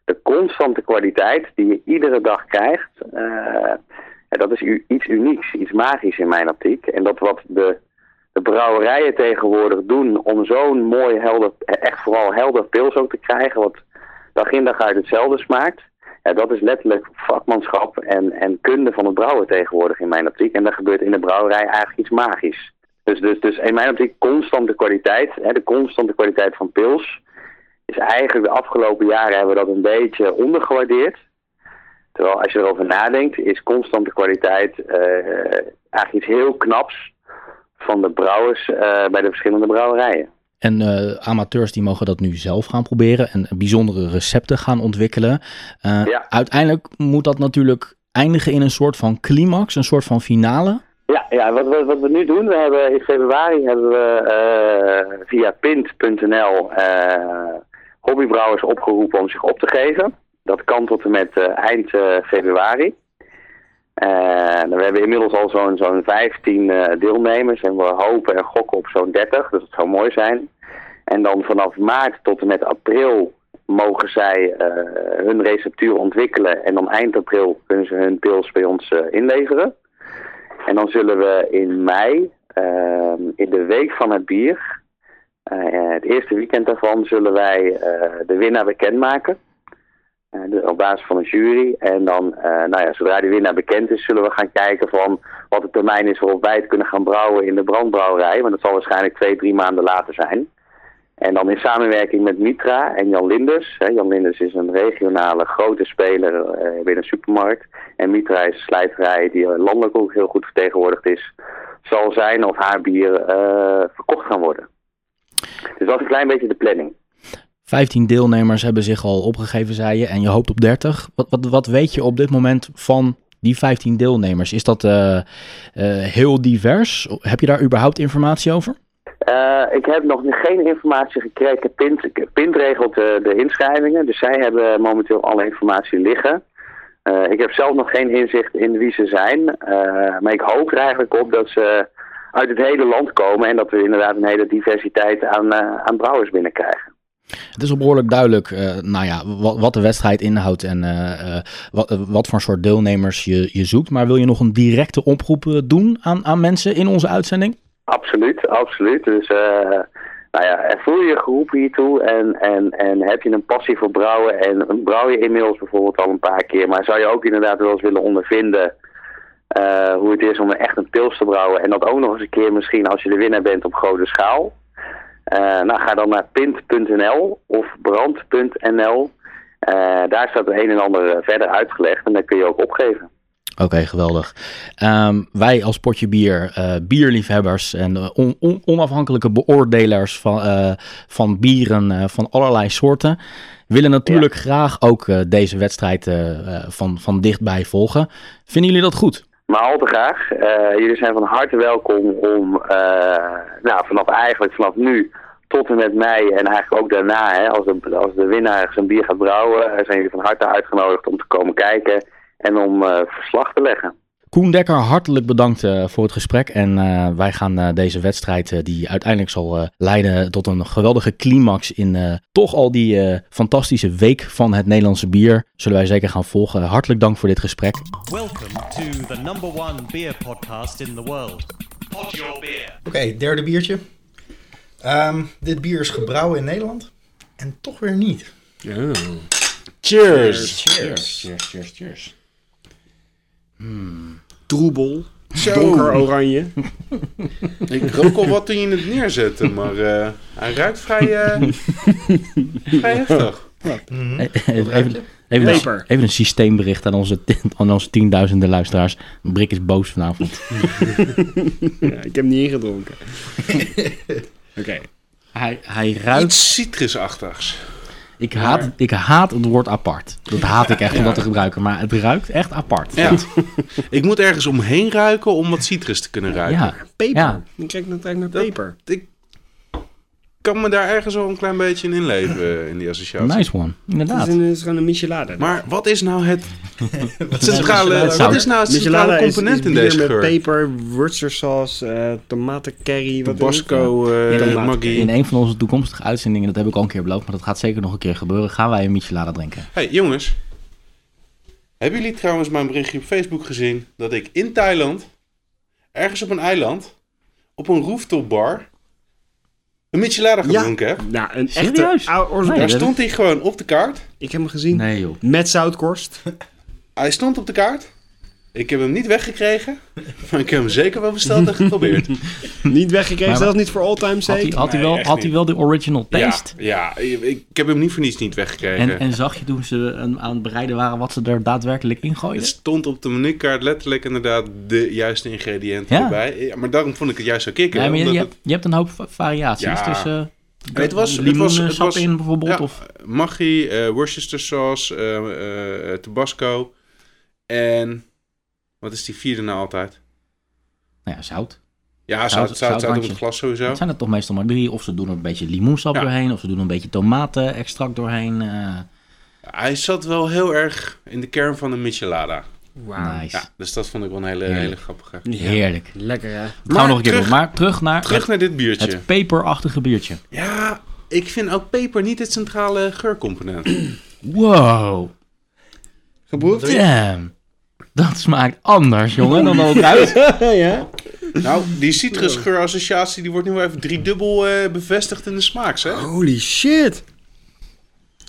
Speaker 6: de constante kwaliteit die je iedere dag krijgt, eh, ja, dat is u- iets unieks, iets magisch in mijn optiek. En dat wat de, de brouwerijen tegenwoordig doen om zo'n mooi, helder, echt vooral helder pils ook te krijgen, wat dag in dag uit hetzelfde smaakt. Ja, dat is letterlijk vakmanschap en, en kunde van het brouwen tegenwoordig in mijn optiek. En daar gebeurt in de brouwerij eigenlijk iets magisch. Dus, dus, dus in mijn optiek constante kwaliteit, hè, de constante kwaliteit van pils, is eigenlijk de afgelopen jaren hebben we dat een beetje ondergewaardeerd. Terwijl als je erover nadenkt, is constante kwaliteit eh, eigenlijk iets heel knaps van de brouwers eh, bij de verschillende brouwerijen.
Speaker 1: En eh, amateurs die mogen dat nu zelf gaan proberen en bijzondere recepten gaan ontwikkelen. Eh,
Speaker 6: Ja.
Speaker 1: Uiteindelijk moet dat natuurlijk eindigen in een soort van climax, een soort van finale.
Speaker 6: Ja, ja wat, wat, wat we nu doen, we hebben in februari hebben we eh, via pint.nl eh, hobbybrouwers opgeroepen om zich op te geven. Dat kan tot en met eh, eind eh, februari. Eh, En we hebben inmiddels al zo'n zo'n 15 eh, deelnemers en we hopen en gokken op zo'n 30, dus dat zou mooi zijn. En dan vanaf maart tot en met april mogen zij eh, hun receptuur ontwikkelen en dan eind april kunnen ze hun pils bij ons eh, inleveren. En dan zullen we in mei, ehm, in de week van het bier, eh, het eerste weekend daarvan, zullen wij eh, de winnaar bekendmaken. Eh, dus op basis van een jury. En dan, eh, nou ja, zodra die winnaar bekend is, zullen we gaan kijken van wat de termijn is waarop wij het kunnen gaan brouwen in de brandbrouwerij. Want dat zal waarschijnlijk twee, drie maanden later zijn. En dan in samenwerking met Mitra en Jan Linders. Hè, Jan Linders is een regionale grote speler eh, binnen de supermarkt. En Mitra is een slijterij die eh, landelijk ook heel goed vertegenwoordigd is. Zal zijn of haar bier eh, verkocht gaan worden. Dus dat is een klein beetje de planning.
Speaker 1: 15 deelnemers hebben zich al opgegeven, zei je, en je hoopt op 30. Wat, wat, wat weet je op dit moment van die 15 deelnemers? Is dat eh, eh, heel divers? Heb je daar überhaupt informatie over?
Speaker 6: Eh, ik heb nog geen informatie gekregen. Pint, Pint regelt eh, de inschrijvingen, dus zij hebben momenteel alle informatie liggen. Eh, ik heb zelf nog geen inzicht in wie ze zijn, eh, maar ik hoop er eigenlijk op dat ze uit het hele land komen en dat we inderdaad een hele diversiteit aan, eh, aan brouwers binnenkrijgen.
Speaker 1: Het is al behoorlijk duidelijk eh, nou ja, wat, wat de wedstrijd inhoudt en eh, eh, wat, eh, wat voor soort deelnemers je, je zoekt. Maar wil je nog een directe oproep eh, doen aan, aan mensen in onze uitzending?
Speaker 6: Absoluut, absoluut. Dus eh, nou ja, en voel je je geroepen hiertoe en, en, en heb je een passie voor brouwen en brouw je inmiddels bijvoorbeeld al een paar keer, maar zou je ook inderdaad wel eens willen ondervinden eh, hoe het is om echt een pils te brouwen en dat ook nog eens een keer misschien als je de winnaar bent op grote schaal? Eh, nou, ga dan naar pint.nl of brand.nl. Eh, daar staat het een en ander eh, verder uitgelegd en daar kun je ook opgeven.
Speaker 1: Oké, geweldig. Ehm, wij als potje bier, eh, bierliefhebbers en eh, on- on- onafhankelijke beoordelers van, eh, van bieren eh, van allerlei soorten, willen natuurlijk graag ook eh, deze wedstrijd eh, eh, van, van dichtbij volgen. Vinden jullie dat goed?
Speaker 6: Maar al te graag. Eh, jullie zijn van harte welkom om eh, nou, vanaf eigenlijk vanaf nu tot en met mei en eigenlijk ook daarna, hè, als, de, als de winnaar zijn bier gaat brouwen, eh, zijn jullie van harte uitgenodigd om te komen kijken en om eh, verslag te leggen.
Speaker 1: Koen Dekker, hartelijk bedankt eh, voor het gesprek. En eh, wij gaan eh, deze wedstrijd, eh, die uiteindelijk zal eh, leiden tot een geweldige climax in eh, toch al die eh, fantastische week van het Nederlandse bier, zullen wij zeker gaan volgen. Hartelijk dank voor dit gesprek.
Speaker 4: Welcome to the number one beer podcast in the world. Pod Your Beer.
Speaker 3: Oké, derde biertje. Ehm, dit bier is gebrouwen in Nederland. En toch weer niet.
Speaker 5: Cheers!
Speaker 3: Cheers.
Speaker 2: Troebel.
Speaker 5: Zo.
Speaker 2: Donker oranje.
Speaker 5: Ik rook al wat toen je het neerzette, maar eh, hij ruikt vrij, eh vrij heftig.
Speaker 1: Even,
Speaker 3: ruikt
Speaker 1: even, even, een,
Speaker 2: Peper.
Speaker 1: even een systeembericht aan onze, aan onze tienduizenden luisteraars. Brik is boos vanavond.
Speaker 2: Ja, ik heb niet ingedronken. Oké.
Speaker 1: Hij, hij ruikt...
Speaker 5: Iets citrusachtigs.
Speaker 1: Ik haat, ik haat het woord apart. Dat haat ik echt om dat te gebruiken. Maar het ruikt echt apart.
Speaker 5: Ja. ik moet ergens omheen ruiken om wat citrus te kunnen ruiken.
Speaker 1: Ja.
Speaker 2: Peper.
Speaker 1: Ja.
Speaker 2: Ik kijk naar, kijk naar
Speaker 5: Dat-
Speaker 2: peper.
Speaker 5: Ik kan me daar ergens wel een klein beetje in inleven eh, in die associatie.
Speaker 1: Nice one.
Speaker 2: Dat
Speaker 1: Inderdaad.
Speaker 2: is, een, is gewoon een michelade.
Speaker 5: Maar wat is nou het
Speaker 1: michelada?
Speaker 5: centrale, wat
Speaker 1: Zout.
Speaker 5: is nou het
Speaker 2: Michelada
Speaker 5: centrale
Speaker 2: is-
Speaker 5: component
Speaker 2: is
Speaker 5: in
Speaker 2: bier
Speaker 5: deze
Speaker 2: met
Speaker 5: geur?
Speaker 2: peper, Worcestersaus, eh tomatencurry, wat is het?
Speaker 5: Bosco,
Speaker 2: Ja,
Speaker 5: eh
Speaker 2: tomaat.
Speaker 1: In
Speaker 5: Maggi.
Speaker 1: een van onze toekomstige uitzendingen, dat heb ik al een keer beloofd, maar dat gaat zeker nog een keer gebeuren, gaan wij een michelada drinken.
Speaker 5: Hey jongens, hebben jullie trouwens mijn berichtje op Facebook gezien dat ik in Thailand, ergens op een eiland, op een rooftop bar, een michelada
Speaker 2: Ja.
Speaker 5: gedronken heb?
Speaker 2: Nou, een
Speaker 1: Serieus?
Speaker 2: echte oude
Speaker 1: Nee.
Speaker 5: Daar
Speaker 1: dat-
Speaker 5: stond hij gewoon op de kaart.
Speaker 2: Ik heb hem gezien.
Speaker 1: Nee joh.
Speaker 2: Met zoutkorst.
Speaker 5: Hij stond op de kaart. Ik heb hem niet weggekregen, maar ik heb hem zeker wel besteld en geprobeerd.
Speaker 2: niet weggekregen,
Speaker 1: Maar-
Speaker 2: zelfs niet voor all time
Speaker 1: Had hij,
Speaker 2: zeker.
Speaker 1: had hij,
Speaker 5: Nee,
Speaker 1: wel,
Speaker 5: echt
Speaker 1: had hij
Speaker 5: niet.
Speaker 1: wel de original taste?
Speaker 5: Ja, ja, ik ik heb hem niet voor niets niet weggekregen.
Speaker 1: En, en zag je toen ze een- aan het bereiden waren wat ze er daadwerkelijk in gooiden?
Speaker 5: Het stond op de menukaart letterlijk inderdaad de juiste ingrediënten
Speaker 1: Ja.
Speaker 5: erbij. Ja, maar daarom vond ik het juist zo kicken.
Speaker 1: Nee, maar je,
Speaker 5: omdat
Speaker 1: je,
Speaker 5: het-
Speaker 1: hebt, je hebt een hoop va- variaties.
Speaker 5: Ja.
Speaker 1: Dus, eh,
Speaker 5: het was- het
Speaker 1: limoensap
Speaker 5: was- het was-
Speaker 1: in bijvoorbeeld.
Speaker 5: ja,
Speaker 1: Of,
Speaker 5: Maggi, eh, Worcester sauce, eh, eh, eh, Tabasco en wat is die vierde nou altijd?
Speaker 1: nou ja, zout.
Speaker 5: Ja,
Speaker 1: Zout-
Speaker 5: zout, zout, zout op
Speaker 1: zouthandje.
Speaker 5: het glas sowieso.
Speaker 1: Dat zijn er toch meestal maar drie. Of ze doen er een beetje limoensap
Speaker 5: Ja.
Speaker 1: doorheen. Of ze doen er een beetje tomatenextract doorheen. eh,
Speaker 5: Hij zat wel heel erg in de kern van de michelada.
Speaker 1: nice.
Speaker 5: Ja, dus dat vond ik wel een hele,
Speaker 1: Heerlijk.
Speaker 5: hele grappige.
Speaker 1: Heerlijk.
Speaker 2: Lekker hè?
Speaker 1: Dat gaan we nog een keer
Speaker 5: terug-
Speaker 1: doen. Maar terug naar
Speaker 5: Terug naar dit
Speaker 1: het,
Speaker 5: biertje.
Speaker 1: het peperachtige biertje.
Speaker 5: Ja, ik vind ook peper niet het centrale geurcomponent.
Speaker 1: Wow.
Speaker 2: Geboekt?
Speaker 1: Damn. Dat smaakt anders, jongen, dan dat ruikt.
Speaker 2: ja.
Speaker 5: nou, die citrusgeurassociatie die wordt nu wel even driedubbel eh bevestigd in de smaak, zeg.
Speaker 2: Holy shit.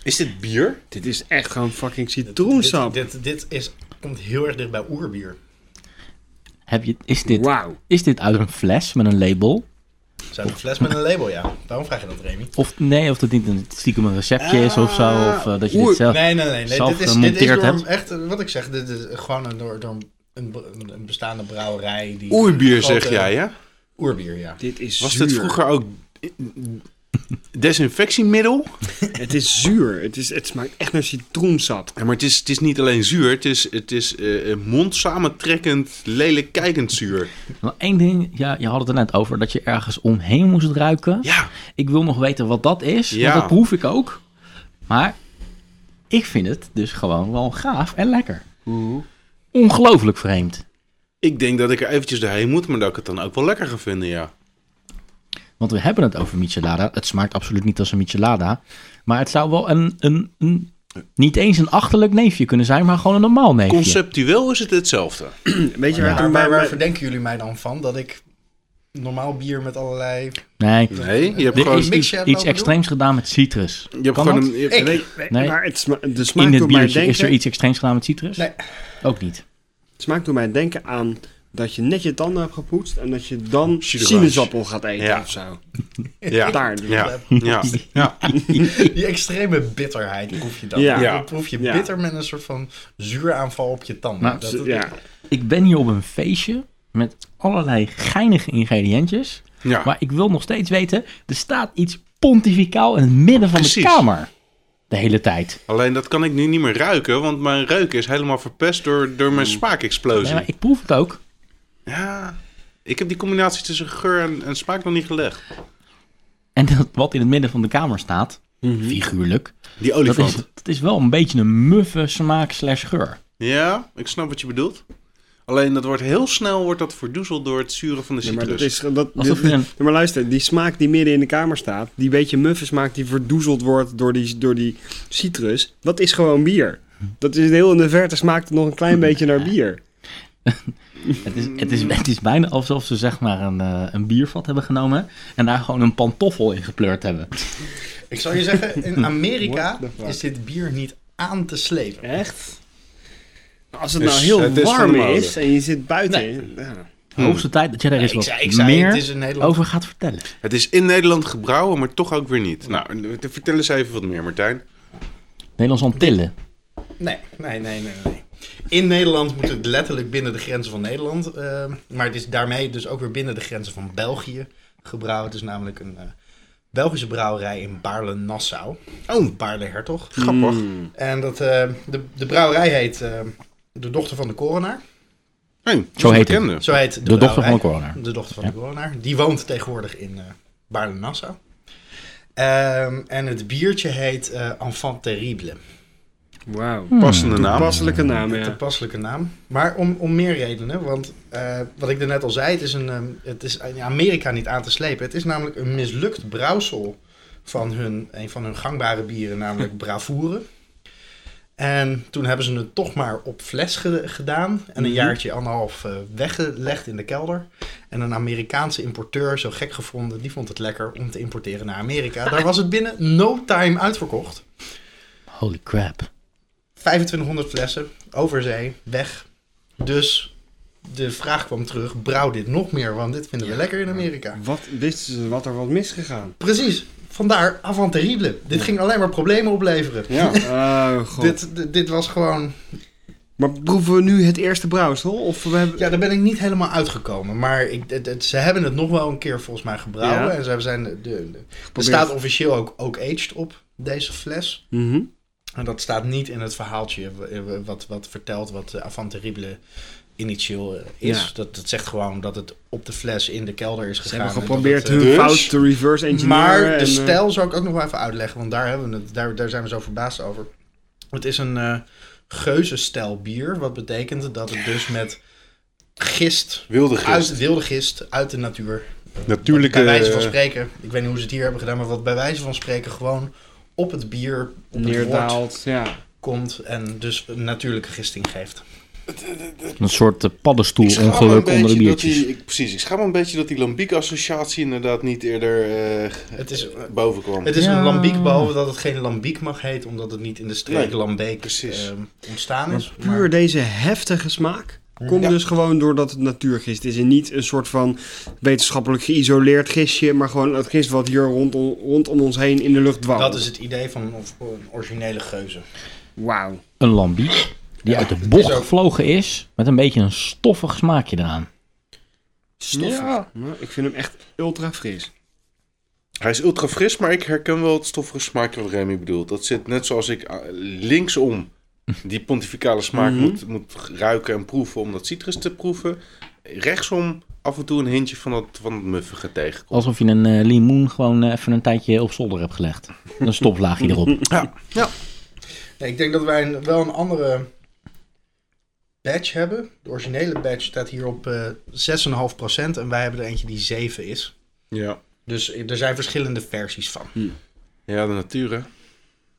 Speaker 5: Is dit bier?
Speaker 2: Dit is echt gewoon fucking
Speaker 3: Dit,
Speaker 2: citroensap.
Speaker 3: dit, dit is, komt heel erg dicht bij oerbier.
Speaker 1: Heb je, is, dit,
Speaker 2: Wauw.
Speaker 1: is dit uit een fles met een label?
Speaker 3: Het zijn een fles met een label, ja. Daarom vraag je dat, Remy.
Speaker 1: Of nee, of dat niet een stiekem een receptje is of zo. Of eh, dat je dit
Speaker 5: oer-
Speaker 1: zelf...
Speaker 3: Ah, Nee, nee, nee. nee.
Speaker 1: zelf
Speaker 3: Dit is, dit is
Speaker 1: gemonteerd
Speaker 3: door
Speaker 1: hebt.
Speaker 3: een- echt, eh, wat ik zeg, dit is gewoon een, door, door een- een, een bestaande brouwerij. Die
Speaker 5: Oerbier,
Speaker 3: grote-
Speaker 5: zeg jij, hè?
Speaker 3: Oerbier, ja.
Speaker 2: Dit is
Speaker 5: Was
Speaker 2: zuur.
Speaker 5: dit vroeger ook desinfectiemiddel?
Speaker 2: Het is zuur. Het, is, het smaakt echt naar citroensap.
Speaker 5: Ja, maar het is, het is niet alleen zuur, het is, het is eh, eh, mondsamentrekkend, lelijk kijkend zuur.
Speaker 1: Maar één ding, ja, je had het er net over, dat je ergens omheen moest ruiken.
Speaker 5: Ja,
Speaker 1: Ik wil nog weten wat dat is,
Speaker 5: Ja.
Speaker 1: want dat proef ik ook. Maar ik vind het dus gewoon wel gaaf en lekker. Ongelooflijk vreemd.
Speaker 5: ik denk dat ik er eventjes doorheen moet, maar dat ik het dan ook wel lekker ga vinden, ja.
Speaker 1: Want we hebben het over michelada. Het smaakt absoluut niet als een michelada. Maar het zou wel een, een, een niet eens een achterlijk neefje kunnen zijn, maar gewoon een normaal neefje.
Speaker 5: Conceptueel is het hetzelfde.
Speaker 2: Weet je waar het
Speaker 3: Maar
Speaker 2: om
Speaker 3: waar,
Speaker 2: bij
Speaker 3: waar
Speaker 2: mij...
Speaker 3: verdenken jullie mij dan van? Dat ik normaal bier met allerlei...
Speaker 1: Nee,
Speaker 5: Nee, je hebt
Speaker 1: er
Speaker 5: gewoon,
Speaker 1: is
Speaker 3: mix
Speaker 1: iets,
Speaker 3: je hebt
Speaker 1: iets
Speaker 3: lopen
Speaker 1: extreems gedaan met citrus.
Speaker 5: je hebt
Speaker 1: Kan
Speaker 5: gewoon
Speaker 1: dat?
Speaker 5: een... je hebt-
Speaker 3: Ik-
Speaker 5: nee,
Speaker 1: Nee.
Speaker 2: Maar het sma- de smaak
Speaker 1: In dit
Speaker 2: doet mij
Speaker 1: biertje
Speaker 2: denken...
Speaker 1: is er iets extreems gedaan met citrus?
Speaker 3: Nee.
Speaker 1: Ook niet.
Speaker 2: Het smaakt doet mij denken aan dat je net je tanden hebt gepoetst... en dat je dan
Speaker 5: Citroen.
Speaker 2: sinaasappel gaat eten
Speaker 5: Ja.
Speaker 2: of zo.
Speaker 5: ja,
Speaker 2: Daar.
Speaker 5: ja, ja, ja.
Speaker 3: Die extreme bitterheid proef je dan.
Speaker 2: Ja.
Speaker 3: Dan proef je
Speaker 2: Ja.
Speaker 3: bitter met een soort van zuuraanval op je tanden.
Speaker 1: Nou,
Speaker 3: dat,
Speaker 2: Ja.
Speaker 1: Ik ben hier op een feestje met allerlei geinige ingrediëntjes.
Speaker 5: ja.
Speaker 1: Maar ik wil nog steeds weten, er staat iets pontificaal in het midden van
Speaker 5: Precies.
Speaker 1: de kamer. De hele tijd.
Speaker 5: Alleen dat kan ik nu niet meer ruiken, want mijn reuk is helemaal verpest door, door mijn
Speaker 1: Nee,
Speaker 5: smaakexplosie.
Speaker 1: maar ik proef het ook.
Speaker 5: Ja, ik heb die combinatie tussen geur en, en smaak nog niet gelegd.
Speaker 1: En dat, wat in het midden van de kamer staat,
Speaker 3: Mhm.
Speaker 1: figuurlijk,
Speaker 5: Die
Speaker 1: dat
Speaker 5: olifant.
Speaker 1: is, dat is wel een beetje een muffe smaak slash geur.
Speaker 5: Ja, ik snap wat je bedoelt. Alleen dat wordt heel snel wordt dat verdoezeld door het zuren van de
Speaker 2: Ja,
Speaker 5: citrus.
Speaker 2: maar, dat is, dat,
Speaker 1: Alsof
Speaker 2: dit-
Speaker 1: je een-
Speaker 2: Ja, maar luister, die smaak die midden in de kamer staat... die beetje muffe smaak die verdoezeld wordt door die, door die citrus... dat is gewoon bier. Dat is heel in de verte smaakt het nog een klein beetje naar bier.
Speaker 1: Het is, het is, het is bijna alsof ze zeg maar een, eh, een biervat hebben genomen en daar gewoon een pantoffel in gepleurd hebben.
Speaker 3: Ik zal je zeggen, in Amerika
Speaker 2: What the fuck?
Speaker 3: is dit bier niet aan te slepen.
Speaker 2: Echt? Als het
Speaker 5: Dus
Speaker 2: nou heel
Speaker 5: het is
Speaker 2: warm
Speaker 5: van de
Speaker 2: is
Speaker 5: moden.
Speaker 2: en je zit buiten. ja.
Speaker 1: Hoogste tijd dat jij daar eens
Speaker 3: Hmm. Ik
Speaker 1: wat
Speaker 3: zei, ik zei,
Speaker 1: meer
Speaker 3: het is in Nederland.
Speaker 1: over gaat vertellen.
Speaker 5: Het is in Nederland gebrouwen, maar toch ook weer niet. Nou, vertel eens even wat meer, Martijn.
Speaker 1: Nederlands Antillen.
Speaker 3: Nee, nee, nee, nee, nee. In Nederland moet het letterlijk binnen de grenzen van Nederland. eh, maar het is daarmee dus ook weer binnen de grenzen van België gebrouwen. Het is namelijk een eh, Belgische brouwerij in Baarle-Nassau. Oh, Baarle-Hertog.
Speaker 5: Grappig.
Speaker 1: Hmm.
Speaker 3: En dat, eh, de, de brouwerij heet eh, De Dochter van de Coronaar.
Speaker 5: Hey, dat is
Speaker 1: Zo
Speaker 5: een
Speaker 1: heet
Speaker 5: bekende.
Speaker 3: Zo heet de,
Speaker 1: De dochter van de
Speaker 3: brouwerij.
Speaker 1: coroner.
Speaker 3: De dochter van de coronaar. Die woont tegenwoordig in eh Baarle-Nassau. Ehm, en het biertje heet eh Enfant Terrible.
Speaker 2: Wauw.
Speaker 5: Passende naam.
Speaker 2: Toepasselijke naam,
Speaker 3: Een
Speaker 2: ja.
Speaker 3: toepasselijke naam. Maar om, om meer redenen. Want eh, wat ik er net al zei, het is, een, ehm, het is in Amerika niet aan te slepen. Het is namelijk een mislukt brouwsel van hun, een van hun gangbare bieren, namelijk Bravoure. En toen hebben ze het toch maar op fles ge- gedaan. En
Speaker 2: Mhm.
Speaker 3: een jaartje anderhalf eh, weggelegd in de kelder. En een Amerikaanse importeur, zo gek gevonden, die vond het lekker om te importeren naar Amerika. Daar was het binnen no time uitverkocht.
Speaker 1: Holy crap.
Speaker 3: 2500 flessen, over zee, weg. Dus de vraag kwam terug, brouw dit nog meer, want dit vinden we lekker in Amerika.
Speaker 2: Wat wisten ze wat er wat misgegaan?
Speaker 3: Precies, vandaar avant terrible. Dit ging alleen maar problemen opleveren.
Speaker 2: Ja. Oh, god.
Speaker 3: Dit, dit, dit was gewoon...
Speaker 2: Maar proeven we nu het eerste brouwsel? Of we hebben...
Speaker 3: Ja, daar ben ik niet helemaal uitgekomen. Maar ik, het- het- ze hebben het nog wel een keer volgens mij gebrouwen.
Speaker 2: Ja.
Speaker 3: En ze zijn de, de, de- er staat officieel ook ook aged op deze fles.
Speaker 2: Mhm.
Speaker 3: En dat staat niet in het verhaaltje w- wat, wat vertelt wat eh, Avant Terrible initieel eh, is.
Speaker 2: Ja.
Speaker 3: Dat, dat zegt gewoon dat het op de fles in de kelder is
Speaker 2: Ze
Speaker 3: gegaan.
Speaker 2: hebben
Speaker 3: en
Speaker 2: geprobeerd
Speaker 3: dat, eh,
Speaker 2: hun
Speaker 5: Dus?
Speaker 2: fout te reverse engineeren.
Speaker 3: Maar
Speaker 2: en,
Speaker 3: de
Speaker 2: eh,
Speaker 3: stijl zou ik ook nog wel even uitleggen, want daar, hebben we het, daar, daar zijn we zo verbaasd over. Het is een eh geuzenstijl bier, wat betekent dat het dus met gist,
Speaker 5: Wilde gist.
Speaker 3: Uit, wilde gist uit de natuur
Speaker 5: Natuurlijke...
Speaker 3: bij wijze van spreken, ik weet niet hoe ze het hier hebben gedaan, maar wat bij wijze van spreken gewoon op het bier, op het woord
Speaker 2: neerdaalt. Ja.
Speaker 3: komt en dus een natuurlijke gisting geeft.
Speaker 1: Een soort eh,
Speaker 5: Ik schaam me een
Speaker 1: paddenstoelongeluk onder de
Speaker 5: beetje dat
Speaker 1: biertjes.
Speaker 5: die- ik- precies, ik schaam me een beetje dat die lambiek-associatie inderdaad niet eerder eh,
Speaker 3: Het is,
Speaker 5: boven kwam.
Speaker 3: het is
Speaker 1: Ja.
Speaker 3: een lambiek, behalve dat het geen lambiek mag heten, omdat het niet in de streek
Speaker 5: Nee,
Speaker 3: Lambeek
Speaker 5: precies.
Speaker 3: ehm, ontstaan
Speaker 2: Maar
Speaker 3: is.
Speaker 2: puur deze heftige smaak komt dus gewoon doordat het natuurgist is. En niet een soort van wetenschappelijk geïsoleerd gistje, maar gewoon het gist wat hier rondom, rondom ons heen in de lucht dwaalt.
Speaker 3: Dat is het idee van een of- een originele geuze.
Speaker 2: Wauw.
Speaker 1: Een lambiek die uit de bocht gevlogen is met een beetje een stoffig smaakje eraan.
Speaker 2: Stoffig. Ja, Ik vind hem echt ultra fris.
Speaker 5: Hij is ultra fris, maar ik herken wel het stoffige smaakje wat Remy bedoelt. Dat zit net zoals ik ah, linksom die pontificale smaak moet, moet ruiken en proeven om dat citrus te proeven. Rechtsom af en toe een hintje van dat, van dat muffige tegenkomt.
Speaker 1: Alsof je een eh, limoen gewoon eh, even een tijdje op zolder hebt gelegd. Een stoplaagje erop.
Speaker 3: Nee, ik denk dat wij een- wel een andere badge hebben. De originele badge staat hier op eh 6,5% en wij hebben er eentje die 7 is.
Speaker 5: Ja.
Speaker 3: Dus er zijn verschillende versies van.
Speaker 5: ja, de natuur hè.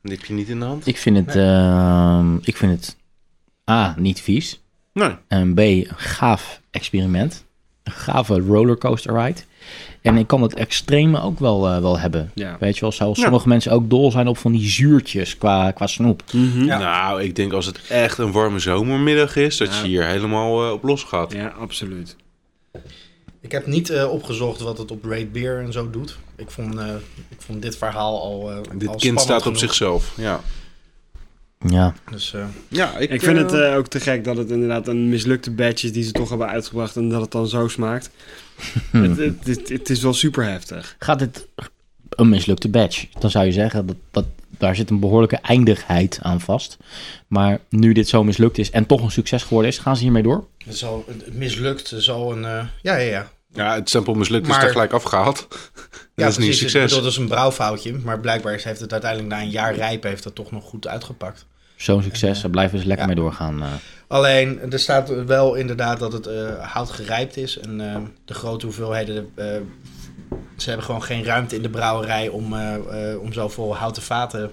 Speaker 5: Die heb je niet in de hand.
Speaker 1: Ik vind het, ehm, ik vind het A, niet vies.
Speaker 5: Nee.
Speaker 1: En B, een gaaf experiment. Een gave rollercoaster ride. En ik kan het extreme ook wel, eh, wel hebben.
Speaker 2: Ja.
Speaker 1: Weet je wel, zoals sommige mensen ook dol zijn op van die zuurtjes qua, qua snoep.
Speaker 3: Ja.
Speaker 5: Nou, ik denk als het echt een warme zomermiddag is, dat
Speaker 2: Ja.
Speaker 5: je hier helemaal eh, op los gaat.
Speaker 2: Ja, absoluut.
Speaker 3: Ik heb niet eh, opgezocht wat het op Raid Beer en zo doet. Ik vond, eh, ik vond dit verhaal al. eh, al
Speaker 5: Dit kind
Speaker 3: spannend
Speaker 5: staat op
Speaker 3: genoeg.
Speaker 5: zichzelf. Ja,
Speaker 1: Ja,
Speaker 3: Dus, eh,
Speaker 5: ja
Speaker 2: Ik vind het eh, ook te gek dat het inderdaad een mislukte badge is die ze toch hebben uitgebracht en dat het dan zo smaakt. het, het, het, het is wel super heftig.
Speaker 1: gaat dit een mislukte badge? Dan zou je zeggen, dat, dat, daar zit een behoorlijke eindigheid aan vast. Maar nu dit zo mislukt is en toch een succes geworden is, gaan ze hiermee door?
Speaker 3: het, zal, het mislukt, er zal een. eh, ja, ja, ja.
Speaker 5: Ja, het stempel mislukt is
Speaker 3: Maar-
Speaker 5: daar gelijk afgehaald.
Speaker 3: Ja,
Speaker 5: dat is niet een
Speaker 3: precies. Ik
Speaker 5: succes.
Speaker 3: bedoel, dat is een brouwfoutje, maar blijkbaar heeft het uiteindelijk na een jaar rijpen heeft dat toch nog goed uitgepakt.
Speaker 1: Zo'n succes, daar blijven ze lekker
Speaker 3: Ja.
Speaker 1: mee doorgaan. eh.
Speaker 3: Alleen, er staat wel inderdaad dat het eh, hout gerijpt is en eh, de grote hoeveelheden, eh, ze hebben gewoon geen ruimte in de brouwerij om, eh, eh, om zoveel houten vaten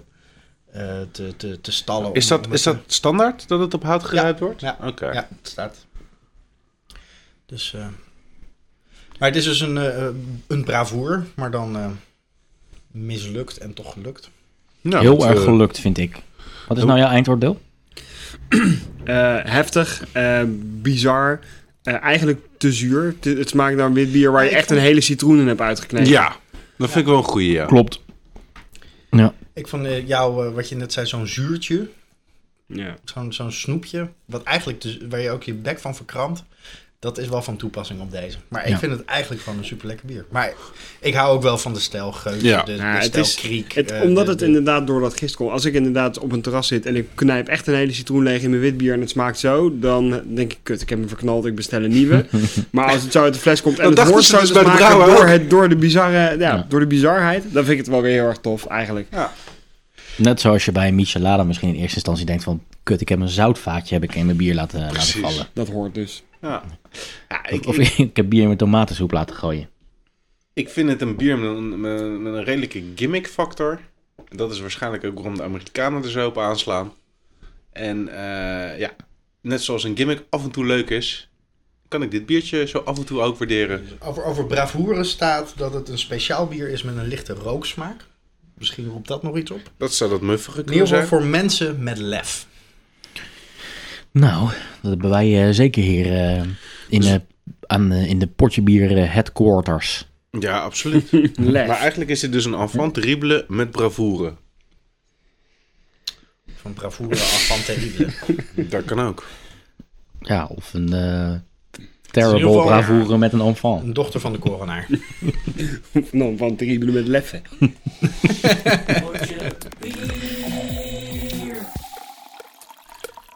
Speaker 3: eh, te, te, te stallen.
Speaker 5: Is
Speaker 3: om-
Speaker 5: dat,
Speaker 3: om
Speaker 5: is
Speaker 3: het
Speaker 5: dat standaard dat het op hout gerijpt wordt?
Speaker 3: te- Ja,
Speaker 5: Oké.
Speaker 3: ja, het staat. Dus, eh, maar het is dus een, eh, een bravoer, maar dan eh, mislukt en toch gelukt.
Speaker 5: Nou,
Speaker 1: Heel
Speaker 5: dat,
Speaker 1: erg
Speaker 5: eh,
Speaker 1: gelukt, vind ik. Wat is
Speaker 5: hoe-
Speaker 1: nou jouw eindoordeel?
Speaker 2: Eh, heftig, eh, bizar. eh, eigenlijk te zuur. Te- het smaakt naar wit bier waar je
Speaker 3: Ja, ik
Speaker 2: echt een hele citroen in hebt uitgeknepen.
Speaker 5: Ja, dat vind ik wel een goeie, ja.
Speaker 1: Klopt. Ja.
Speaker 3: Ik vond eh, jou, eh, wat je net zei, zo'n zuurtje.
Speaker 2: Ja.
Speaker 3: Zo'n zo'n snoepje. Wat eigenlijk dus, waar je ook je bek van verkrampt. Dat is wel van toepassing op deze. Maar ik
Speaker 1: Ja.
Speaker 3: vind het eigenlijk gewoon een super lekker bier. Maar ik hou ook wel van de stijl geus,
Speaker 5: Ja.
Speaker 3: de, de
Speaker 2: Ja, Nou, het
Speaker 3: stijl
Speaker 2: is-
Speaker 3: kriek.
Speaker 2: Het,
Speaker 3: eh,
Speaker 2: omdat
Speaker 3: de-
Speaker 2: het
Speaker 3: de-
Speaker 2: inderdaad door dat gist komt. Als ik inderdaad op een terras zit en ik knijp echt een hele citroen leeg in mijn witbier en het smaakt zo, dan denk ik, kut, ik heb hem verknald, ik bestel een nieuwe. maar als het zo uit de fles komt en
Speaker 5: Dat
Speaker 2: het
Speaker 5: dachten
Speaker 2: wordt
Speaker 5: ze
Speaker 2: zo
Speaker 5: dus
Speaker 2: te
Speaker 5: bij de
Speaker 2: smaken
Speaker 5: brouwer
Speaker 2: door,
Speaker 5: ook.
Speaker 2: het, door, de bizarre, ja,
Speaker 1: Ja.
Speaker 2: door de bizarheid, dan vind ik het wel weer heel erg tof eigenlijk.
Speaker 1: Net zoals je bij een Michelada misschien in eerste instantie denkt van... Kut, ik heb een zoutvaatje heb ik in mijn bier laten, laten
Speaker 5: Precies.
Speaker 1: vallen.
Speaker 2: Dat hoort dus.
Speaker 5: ja. Ja,
Speaker 1: Of,
Speaker 5: ik,
Speaker 1: of
Speaker 5: ik,
Speaker 1: ik heb bier met tomatensoep laten gooien.
Speaker 5: ik vind het een bier met een, met een- met een redelijke gimmick factor. Dat is waarschijnlijk ook waarom de Amerikanen er zo op aanslaan. En eh, ja, net zoals een gimmick af en toe leuk is, kan ik dit biertje zo af en toe ook waarderen.
Speaker 3: Over, over bravoure staat dat het een speciaal bier is met een lichte rooksmaak. Misschien roept dat nog iets op.
Speaker 5: Dat zou dat muffige
Speaker 3: In ieder
Speaker 5: kunnen
Speaker 3: geval
Speaker 5: zijn.
Speaker 3: voor mensen met lef.
Speaker 1: Nou, dat hebben wij eh, zeker hier eh, in, eh, aan, eh, in de potje bier eh, headquarters.
Speaker 5: Ja, absoluut.
Speaker 2: Lef.
Speaker 5: maar eigenlijk is dit dus een enfant terrible met bravoure.
Speaker 3: Van bravoure avant terrible.
Speaker 5: Dat kan ook.
Speaker 1: Ja, of een eh,
Speaker 3: in
Speaker 1: terrible
Speaker 3: ieder geval-
Speaker 1: bravoure met een enfant.
Speaker 3: Een dochter van de coronaar.
Speaker 2: Nou, van terrible met leffen.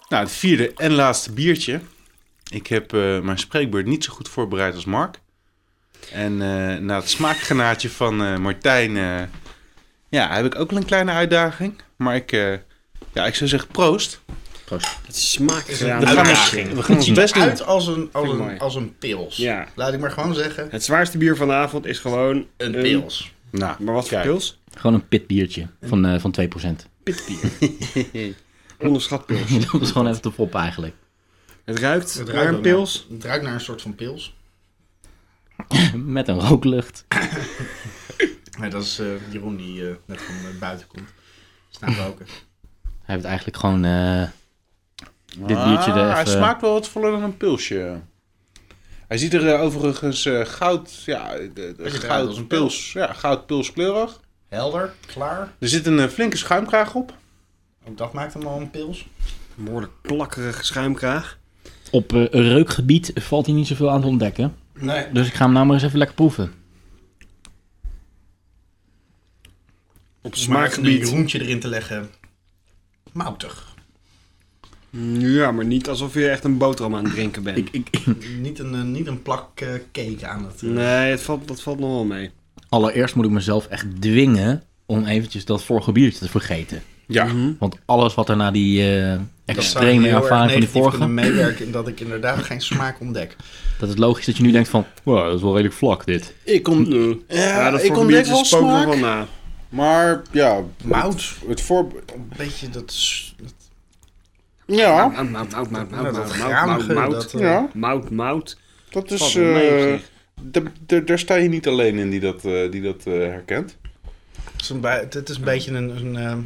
Speaker 5: Nou, het vierde en laatste biertje. Ik heb eh, mijn spreekbeurt niet zo goed voorbereid als Mark. En eh, na het smaakgenaatje van eh, Martijn eh, ja, heb ik ook wel een kleine uitdaging. Maar ik, eh, ja, ik zou zeggen proost.
Speaker 2: Het smaakt
Speaker 5: We gaan, ons,
Speaker 2: uitdaging.
Speaker 5: we gaan ons best doen.
Speaker 3: Uit als een, als
Speaker 2: Vind ik
Speaker 3: een,
Speaker 2: mooi.
Speaker 3: als een pils.
Speaker 2: Ja.
Speaker 3: Laat ik maar gewoon zeggen.
Speaker 2: Het zwaarste bier van de avond is gewoon
Speaker 3: Een pils.
Speaker 5: Nou,
Speaker 2: Maar wat voor
Speaker 5: Kijk.
Speaker 2: pils?
Speaker 1: Gewoon een pitbiertje van, eh van 2%.
Speaker 2: Pitbier. Onderschat pils.
Speaker 1: dat is gewoon even te fop eigenlijk.
Speaker 2: Het ruikt,
Speaker 3: Het
Speaker 2: naar
Speaker 3: ruikt
Speaker 2: een
Speaker 3: ook naar-
Speaker 2: pils.
Speaker 3: Het ruikt naar een soort van pils.
Speaker 1: Met een rooklucht.
Speaker 3: Nee, dat is eh, Jeroen die eh, net van eh, buiten komt. Staan roken.
Speaker 1: Hij heeft eigenlijk gewoon eh, dit biertje
Speaker 5: Ah,
Speaker 1: er even...
Speaker 5: hij smaakt wel wat voller dan een pilsje. Hij ziet er eh, overigens eh, goud, ja, de- de-
Speaker 3: eruit
Speaker 5: goud
Speaker 3: als een
Speaker 5: pils, ja, goud pilskleurig.
Speaker 3: Helder, klaar.
Speaker 5: Er zit een eh, flinke schuimkraag op.
Speaker 3: Ook dat maakt hem al een pils.
Speaker 2: Behoorlijk plakkerige schuimkraag.
Speaker 1: Op eh, reukgebied valt hij niet zoveel aan te ontdekken.
Speaker 3: Nee.
Speaker 1: Dus ik ga hem nou maar eens even lekker proeven.
Speaker 2: Op
Speaker 3: Een
Speaker 2: smaakgebied.
Speaker 3: Jeroentje erin te leggen. Moutig.
Speaker 2: Ja, maar niet alsof je echt een boterham aan het drinken bent.
Speaker 3: Niet een, eh, niet een plak eh, cake aan het. eh,
Speaker 2: Nee, het valt, dat valt nog wel mee.
Speaker 1: Allereerst moet ik mezelf echt dwingen om eventjes dat vorige biertje te vergeten.
Speaker 5: Ja,
Speaker 1: Want alles wat er na die eh,
Speaker 3: Dat zou heel
Speaker 1: extreme
Speaker 3: erg
Speaker 1: ervaring van die
Speaker 3: negatief
Speaker 1: vorige...
Speaker 3: kunnen meewerken in dat ik inderdaad geen smaak ontdek.
Speaker 1: Dat is logisch dat je nu denkt van... Wow, dat is wel redelijk vlak dit.
Speaker 5: ik kom, ja,
Speaker 2: dat
Speaker 5: ik
Speaker 2: vorige
Speaker 5: ontdek
Speaker 2: biertje
Speaker 5: wel
Speaker 2: spook nog
Speaker 5: smaak.
Speaker 2: wel na.
Speaker 5: Maar ja,
Speaker 3: Mout.
Speaker 5: het voor...
Speaker 3: Een beetje dat, s- dat,
Speaker 5: Ja,
Speaker 2: Ah, Mout, mout, mout, mout, Nou, mout, mout,
Speaker 3: dat,
Speaker 2: mout,
Speaker 3: gramige,
Speaker 2: mout.
Speaker 3: dat, eh,
Speaker 5: ja,
Speaker 2: Mout, mout.
Speaker 5: dat
Speaker 2: Valt
Speaker 5: is...
Speaker 2: wel mee,
Speaker 5: eh,
Speaker 2: zeg.
Speaker 5: d- d- Daar sta je niet alleen in die dat, eh, die dat eh, herkent.
Speaker 3: Het is een, bij- het is een beetje een... een ehm,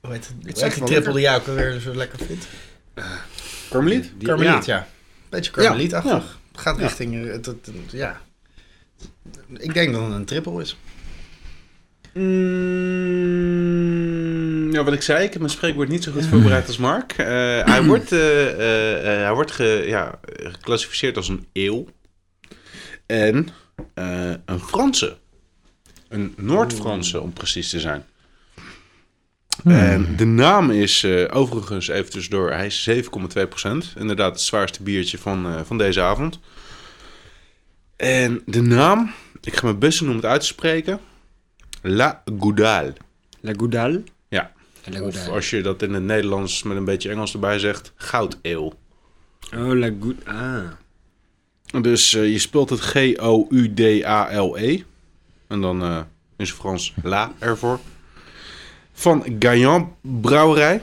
Speaker 3: hoe heet het? Hoe heet
Speaker 2: echt
Speaker 3: die
Speaker 2: wel
Speaker 3: trippel die jij ook weer zo lekker vindt?
Speaker 5: Carmeliet?
Speaker 2: Die-
Speaker 3: Karmeliet,
Speaker 2: ja.
Speaker 3: ja. Beetje karmelietachtig.
Speaker 5: Ja,
Speaker 3: Gaat
Speaker 5: Ja.
Speaker 3: richting... eh, Het, het- het- ja. Ik denk dat het een trippel is.
Speaker 5: Mm, ja, wat ik zei, ik heb mijn spreekwoord niet zo goed voorbereid als Mark. Eh, hij wordt, eh, eh, eh, hij wordt ge- ja, eh, geclassificeerd als een eeuw. En eh, een Franse. Een Noord-Franse, om precies te zijn. En de naam is eh, overigens even tussendoor, hij is 7,2%. Inderdaad, het zwaarste biertje van, eh, van deze avond. En de naam, ik ga mijn best doen om het uit te spreken. La Goudal.
Speaker 2: La Goudal.
Speaker 5: Ja.
Speaker 2: La
Speaker 5: Of
Speaker 2: Goudal.
Speaker 5: als je dat in het Nederlands met een beetje Engels erbij zegt, goudeeuw.
Speaker 2: Oh, La Goud... Ah.
Speaker 5: Dus eh, je speelt het G-O-U-D-A-L-E. En dan eh in het Frans la ervoor. Van Gaillan Brouwerij.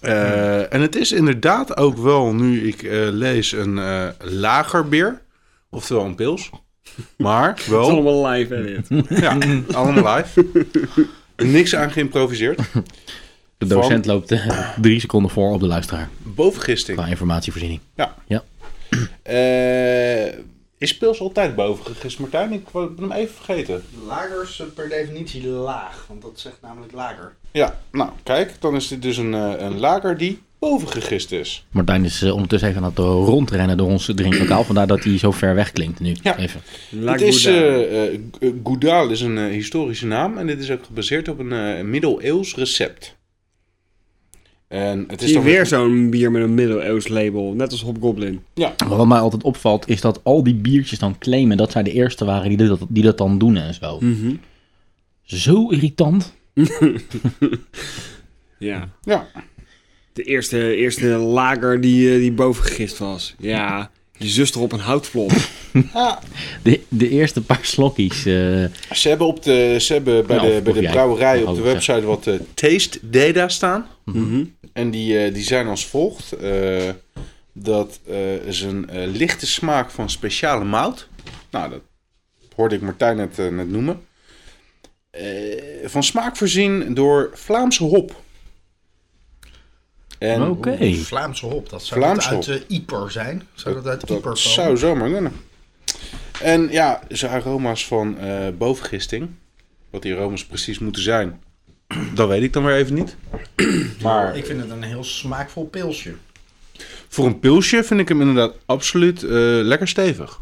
Speaker 5: Eh, en het is inderdaad ook wel, nu ik eh, lees, een eh, lager bier. Oftewel een pils. Maar
Speaker 2: Het is
Speaker 5: wel
Speaker 2: allemaal live, hè, dit.
Speaker 5: Ja, allemaal live. Niks aan geïmproviseerd.
Speaker 1: De docent loopt eh, drie seconden voor op de luisteraar
Speaker 5: Bovengisting.
Speaker 1: qua informatievoorziening.
Speaker 5: Eh, is Pils altijd bovengegist, Martijn? Ik wou- ben hem even vergeten.
Speaker 3: Lagers per definitie laag, want dat zegt namelijk lager.
Speaker 5: Ja, nou kijk, dan is dit dus een, eh, een lager die bovengegist is.
Speaker 1: Martijn is eh, ondertussen even aan het rondrennen door ons drinklokaal. Vandaar dat hij zo ver weg klinkt nu.
Speaker 5: Ja.
Speaker 1: Even.
Speaker 2: La
Speaker 5: het is,
Speaker 2: Gouda.
Speaker 5: eh, eh, G- Goudal is een eh, historische naam en dit is ook gebaseerd op een eh, middeleeuws recept. En het is
Speaker 2: Zie je
Speaker 5: dan
Speaker 2: weer zo'n bier met een middeleeuws label. Net als Hobgoblin.
Speaker 1: Maar wat mij altijd opvalt is dat al die biertjes dan claimen dat zij de eerste waren die dat, die dat dan doen en zo. Zo irritant.
Speaker 2: Ja.
Speaker 5: Ja,
Speaker 2: De eerste, eerste lager die, eh, die bovengegist was. Ja. Je zuster op een houtplot.
Speaker 5: Ah,
Speaker 1: De, de eerste paar slokjes. eh,
Speaker 5: ze hebben, op de, ze hebben bij
Speaker 1: Ja, of-
Speaker 5: de, bij
Speaker 1: of Nou,
Speaker 5: de
Speaker 1: jij.
Speaker 5: brouwerij
Speaker 1: Mag
Speaker 5: op de
Speaker 1: ook, ja.
Speaker 5: website wat eh, taste data staan. En die, eh, die zijn als volgt. eh, dat eh, is een eh, lichte smaak van speciale mout. Nou, dat hoorde ik Martijn net, eh, net noemen. Eh, van smaak voorzien door Vlaamse hop. En
Speaker 1: Oké.
Speaker 3: Vlaamse hop, dat zou
Speaker 5: Vlaamse
Speaker 3: dat uit eh, Ieper zijn. Zou dat uit Ieper
Speaker 5: dat
Speaker 3: komen?
Speaker 5: zou zomaar kunnen. En ja, zijn aroma's van eh bovengisting. Wat die aroma's precies moeten zijn, dat weet ik dan weer even niet. Maar
Speaker 3: Ik vind het een heel smaakvol pilsje.
Speaker 5: voor een pilsje vind ik hem inderdaad absoluut eh, lekker stevig.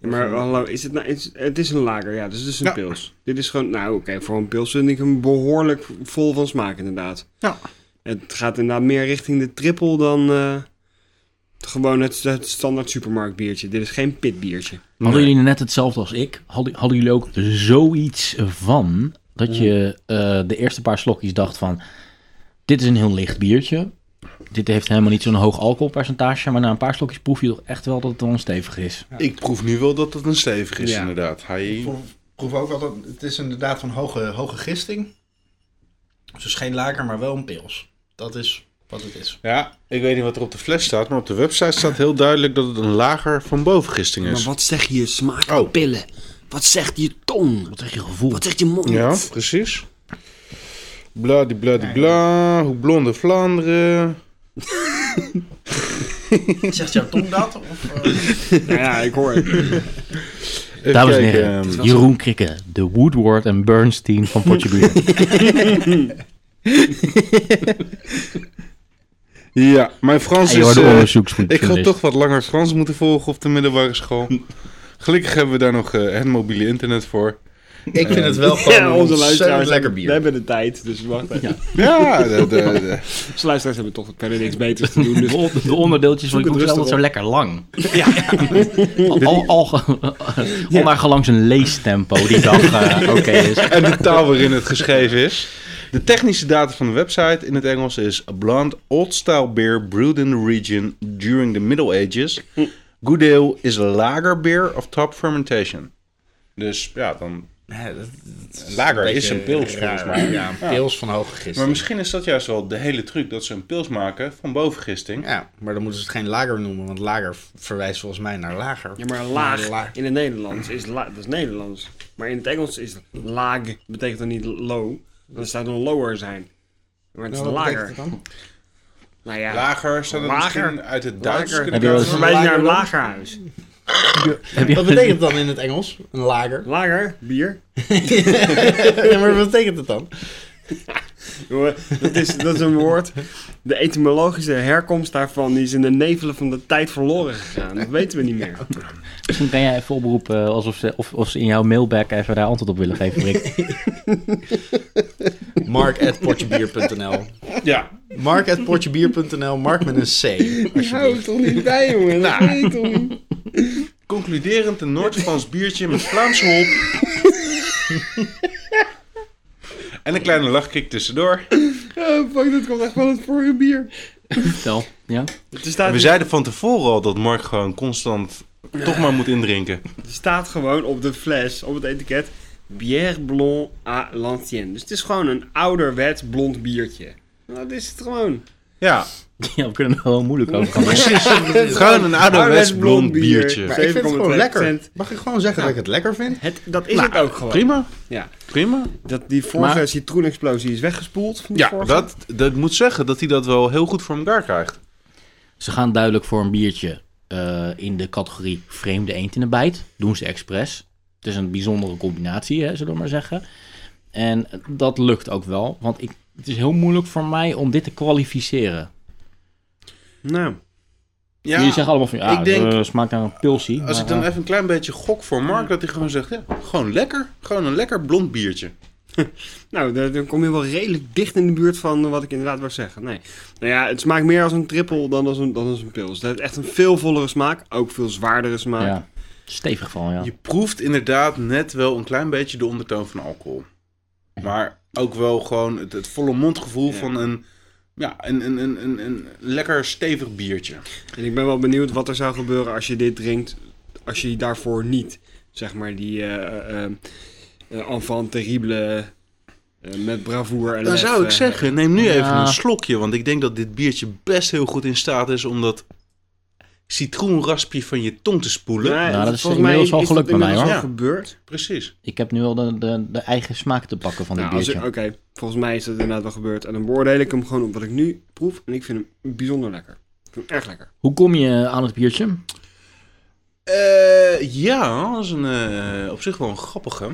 Speaker 2: Maar hallo, is het, nou, is, het is een lager, ja, dus het is een
Speaker 5: Ja.
Speaker 2: pils. Dit is gewoon, nou oké, voor een pils vind ik hem behoorlijk vol van smaak inderdaad.
Speaker 5: Ja.
Speaker 2: Het gaat inderdaad meer richting de triple dan eh, gewoon het, het standaard supermarktbiertje. Dit is geen pitbiertje.
Speaker 1: Hadden jullie net hetzelfde als ik? Hadden, hadden jullie ook zoiets van dat je eh, de eerste paar slokjes dacht van... Dit is een heel licht biertje. Dit heeft helemaal niet zo'n hoog alcoholpercentage. Maar na een paar slokjes proef je toch echt wel dat het wel stevig is.
Speaker 5: Ik proef nu wel dat het een stevig is,
Speaker 2: Ja.
Speaker 5: inderdaad. Hij...
Speaker 3: Ik proef, proef ook altijd, het is inderdaad van hoge, hoge gisting. Dus het is geen lager, maar wel een pils. Dat is wat het is.
Speaker 5: Ja, ik weet niet wat er op de fles staat, maar op de website staat heel duidelijk dat het een lager van bovengisting
Speaker 2: Maar
Speaker 5: is.
Speaker 2: wat zeg je
Speaker 5: Oh.
Speaker 2: smaakpillen? Wat zegt je tong? Wat zegt je gevoel? Wat zegt je mond?
Speaker 5: Ja, precies. Bladibladibla, hoe blonde Vlaanderen.
Speaker 3: Zegt jouw tong dat? Of, eh,
Speaker 2: Nou ja, ik hoor het.
Speaker 5: Even
Speaker 1: Dames en
Speaker 5: kijken,
Speaker 2: eh,
Speaker 1: heren,
Speaker 5: ehm,
Speaker 1: Jeroen Krikke. De Woodward en Bernstein van Potje Bier.
Speaker 5: Ja, mijn Frans
Speaker 1: Hij
Speaker 5: is...
Speaker 1: hoorde
Speaker 5: eh,
Speaker 1: onderzoeksjournalist.
Speaker 5: ik had toch wat langer Frans moeten volgen op de middelbare school. Gelukkig hebben we daar nog eh, het mobiele internet voor.
Speaker 3: ik vind het wel gewoon een ontzettend lekker
Speaker 2: We
Speaker 3: bier.
Speaker 2: hebben de tijd, dus wacht even.
Speaker 5: Ja, de, de, de-
Speaker 2: Onze luisteraars hebben toch verder niks beters te doen. Dus
Speaker 1: De, de onderdeeltjes van
Speaker 2: Zoek
Speaker 1: je
Speaker 2: het
Speaker 1: proef
Speaker 2: rustig
Speaker 1: altijd zo lekker
Speaker 2: op.
Speaker 1: lang. Al, al, al, ondanks een leestempo die dag eh, oké is.
Speaker 5: en de taal waarin het geschreven is. De technische data van de website in het Engels is... A blonde old-style beer brewed in the region during the Middle Ages. Good ale is a lager beer of top fermentation. Dus ja, dan... Lager is een pils volgens mij.
Speaker 3: Ja, een pils van hoge gisting.
Speaker 5: Maar misschien is dat juist wel de hele truc, dat ze een pils maken van bovengisting.
Speaker 3: Ja, maar dan moeten ze het geen lager noemen, want lager verwijst volgens mij naar lager.
Speaker 2: Ja, maar laag
Speaker 3: Laag.
Speaker 2: in het Nederlands is la- dat is Nederlands. Maar in het Engels is laag betekent dan niet low. Dan zou het een lower zijn. Maar het is
Speaker 3: Nou, wat betekent
Speaker 2: lager.
Speaker 3: het dan?
Speaker 2: Nou ja,
Speaker 5: Lager, zou dat
Speaker 2: Lager.
Speaker 5: misschien uit het Duits
Speaker 2: Lager.
Speaker 5: kunnen
Speaker 1: Heb je wel
Speaker 2: dat
Speaker 5: komen?
Speaker 1: eens-
Speaker 2: verwijst naar een
Speaker 3: Lager dan?
Speaker 2: lagerhuis.
Speaker 1: Heb je-
Speaker 3: Wat betekent het dan in het Engels? Een lager.
Speaker 2: Lager, bier.
Speaker 3: Ja, maar wat betekent het dan?
Speaker 2: Jongen, Dat is, dat is een woord. De etymologische herkomst daarvan die is in de nevelen van de tijd verloren gegaan. Dat weten we niet meer.
Speaker 1: Misschien kan jij even oproepen eh, alsof ze, of, of ze in jouw mailback even daar antwoord op willen geven, Rick.
Speaker 3: Mark.potjebier.nl
Speaker 5: Ja,
Speaker 3: Mark.potjebier.nl Mark met een C.
Speaker 2: Hou toch niet bij, jongen. Dat weet toch niet.
Speaker 5: Concluderend een Noord-Frans biertje met Vlaamse hop. en een kleine lachkik tussendoor.
Speaker 2: fuck, dat komt echt van het vorige bier.
Speaker 1: Stel, ja?
Speaker 2: Er staat,
Speaker 5: We zeiden van tevoren al dat Mark gewoon constant toch maar moet indrinken.
Speaker 2: Er staat gewoon op de fles, op het etiket, Bière Blond à l'Ancienne. Dus het is gewoon een ouderwets blond biertje. Nou, dat is het gewoon.
Speaker 5: Ja,
Speaker 1: Ja, we kunnen er wel moeilijk over gaan.
Speaker 5: precies. Gewoon een ouderwets blond biertje.
Speaker 2: Maar
Speaker 3: Maar ik vind het gewoon
Speaker 2: 7,2%.
Speaker 3: lekker. Mag ik gewoon zeggen dat ik het lekker vind?
Speaker 2: Het, dat is het ook gewoon.
Speaker 5: Prima,
Speaker 2: Nou, Ja.
Speaker 5: prima.
Speaker 2: Dat die vorige
Speaker 1: Maar-
Speaker 2: citroenexplosie is weggespoeld. Van die
Speaker 5: Ja,
Speaker 2: vorige.
Speaker 5: dat, dat moet zeggen dat hij dat wel heel goed voor elkaar krijgt.
Speaker 1: Ze gaan duidelijk voor een biertje eh, in de categorie vreemde eend in de bijt. Doen ze expres. Het is een bijzondere combinatie, hè, zullen we maar zeggen. En dat lukt ook wel, want ik, het is heel moeilijk voor mij om dit te kwalificeren.
Speaker 2: Nou,
Speaker 1: Jullie zeggen allemaal van, ja,
Speaker 5: ik
Speaker 1: ik
Speaker 5: denk-
Speaker 1: smaakt naar een pilsie. eh,
Speaker 5: Als ik dan even een klein beetje gok voor Mark, dat hij gewoon zegt, ja, gewoon lekker. Gewoon een lekker blond biertje.
Speaker 2: nou dan, dan kom je wel redelijk dicht in de buurt van wat ik inderdaad wou zeggen. Nee. Nou ja, het smaakt meer als een triple dan als een, dan als een pils. Het heeft echt een veel vollere smaak. Ook veel zwaardere smaak.
Speaker 1: Ja, stevig van, ja.
Speaker 5: Je proeft inderdaad net wel een klein beetje de ondertoon van alcohol. Maar ook wel gewoon het, het volle mondgevoel van een, ja, een, een, een, een, een lekker stevig biertje.
Speaker 2: En ik ben wel benieuwd wat er zou gebeuren als je dit drinkt. Als je daarvoor niet, zeg maar, die eh eh eh, enfant terrible eh, met bravoure en
Speaker 5: Dan
Speaker 2: lef,
Speaker 5: zou ik
Speaker 2: eh,
Speaker 5: zeggen, neem nu even
Speaker 1: Ja.
Speaker 5: een slokje. Want ik denk dat dit biertje best heel goed in staat is om dat citroenraspje van je tong te spoelen.
Speaker 2: Nee,
Speaker 1: Nou, dat is
Speaker 2: volgens
Speaker 1: inmiddels wel
Speaker 2: dat
Speaker 1: geluk bij mij,
Speaker 2: inmiddels
Speaker 5: hoor.
Speaker 2: wel gebeurd.
Speaker 5: Precies.
Speaker 1: Ik heb nu al de, de, de eigen smaak te pakken van dit
Speaker 2: Nou, als ik-
Speaker 1: biertje.
Speaker 2: Oké, volgens mij is dat inderdaad wel gebeurd. En dan beoordeel ik hem gewoon op wat ik nu proef. En ik vind hem bijzonder lekker. Ik vind hem erg lekker.
Speaker 1: Hoe kom je aan het biertje?
Speaker 5: Eh, ja, dat is een, eh, op zich wel een grappige.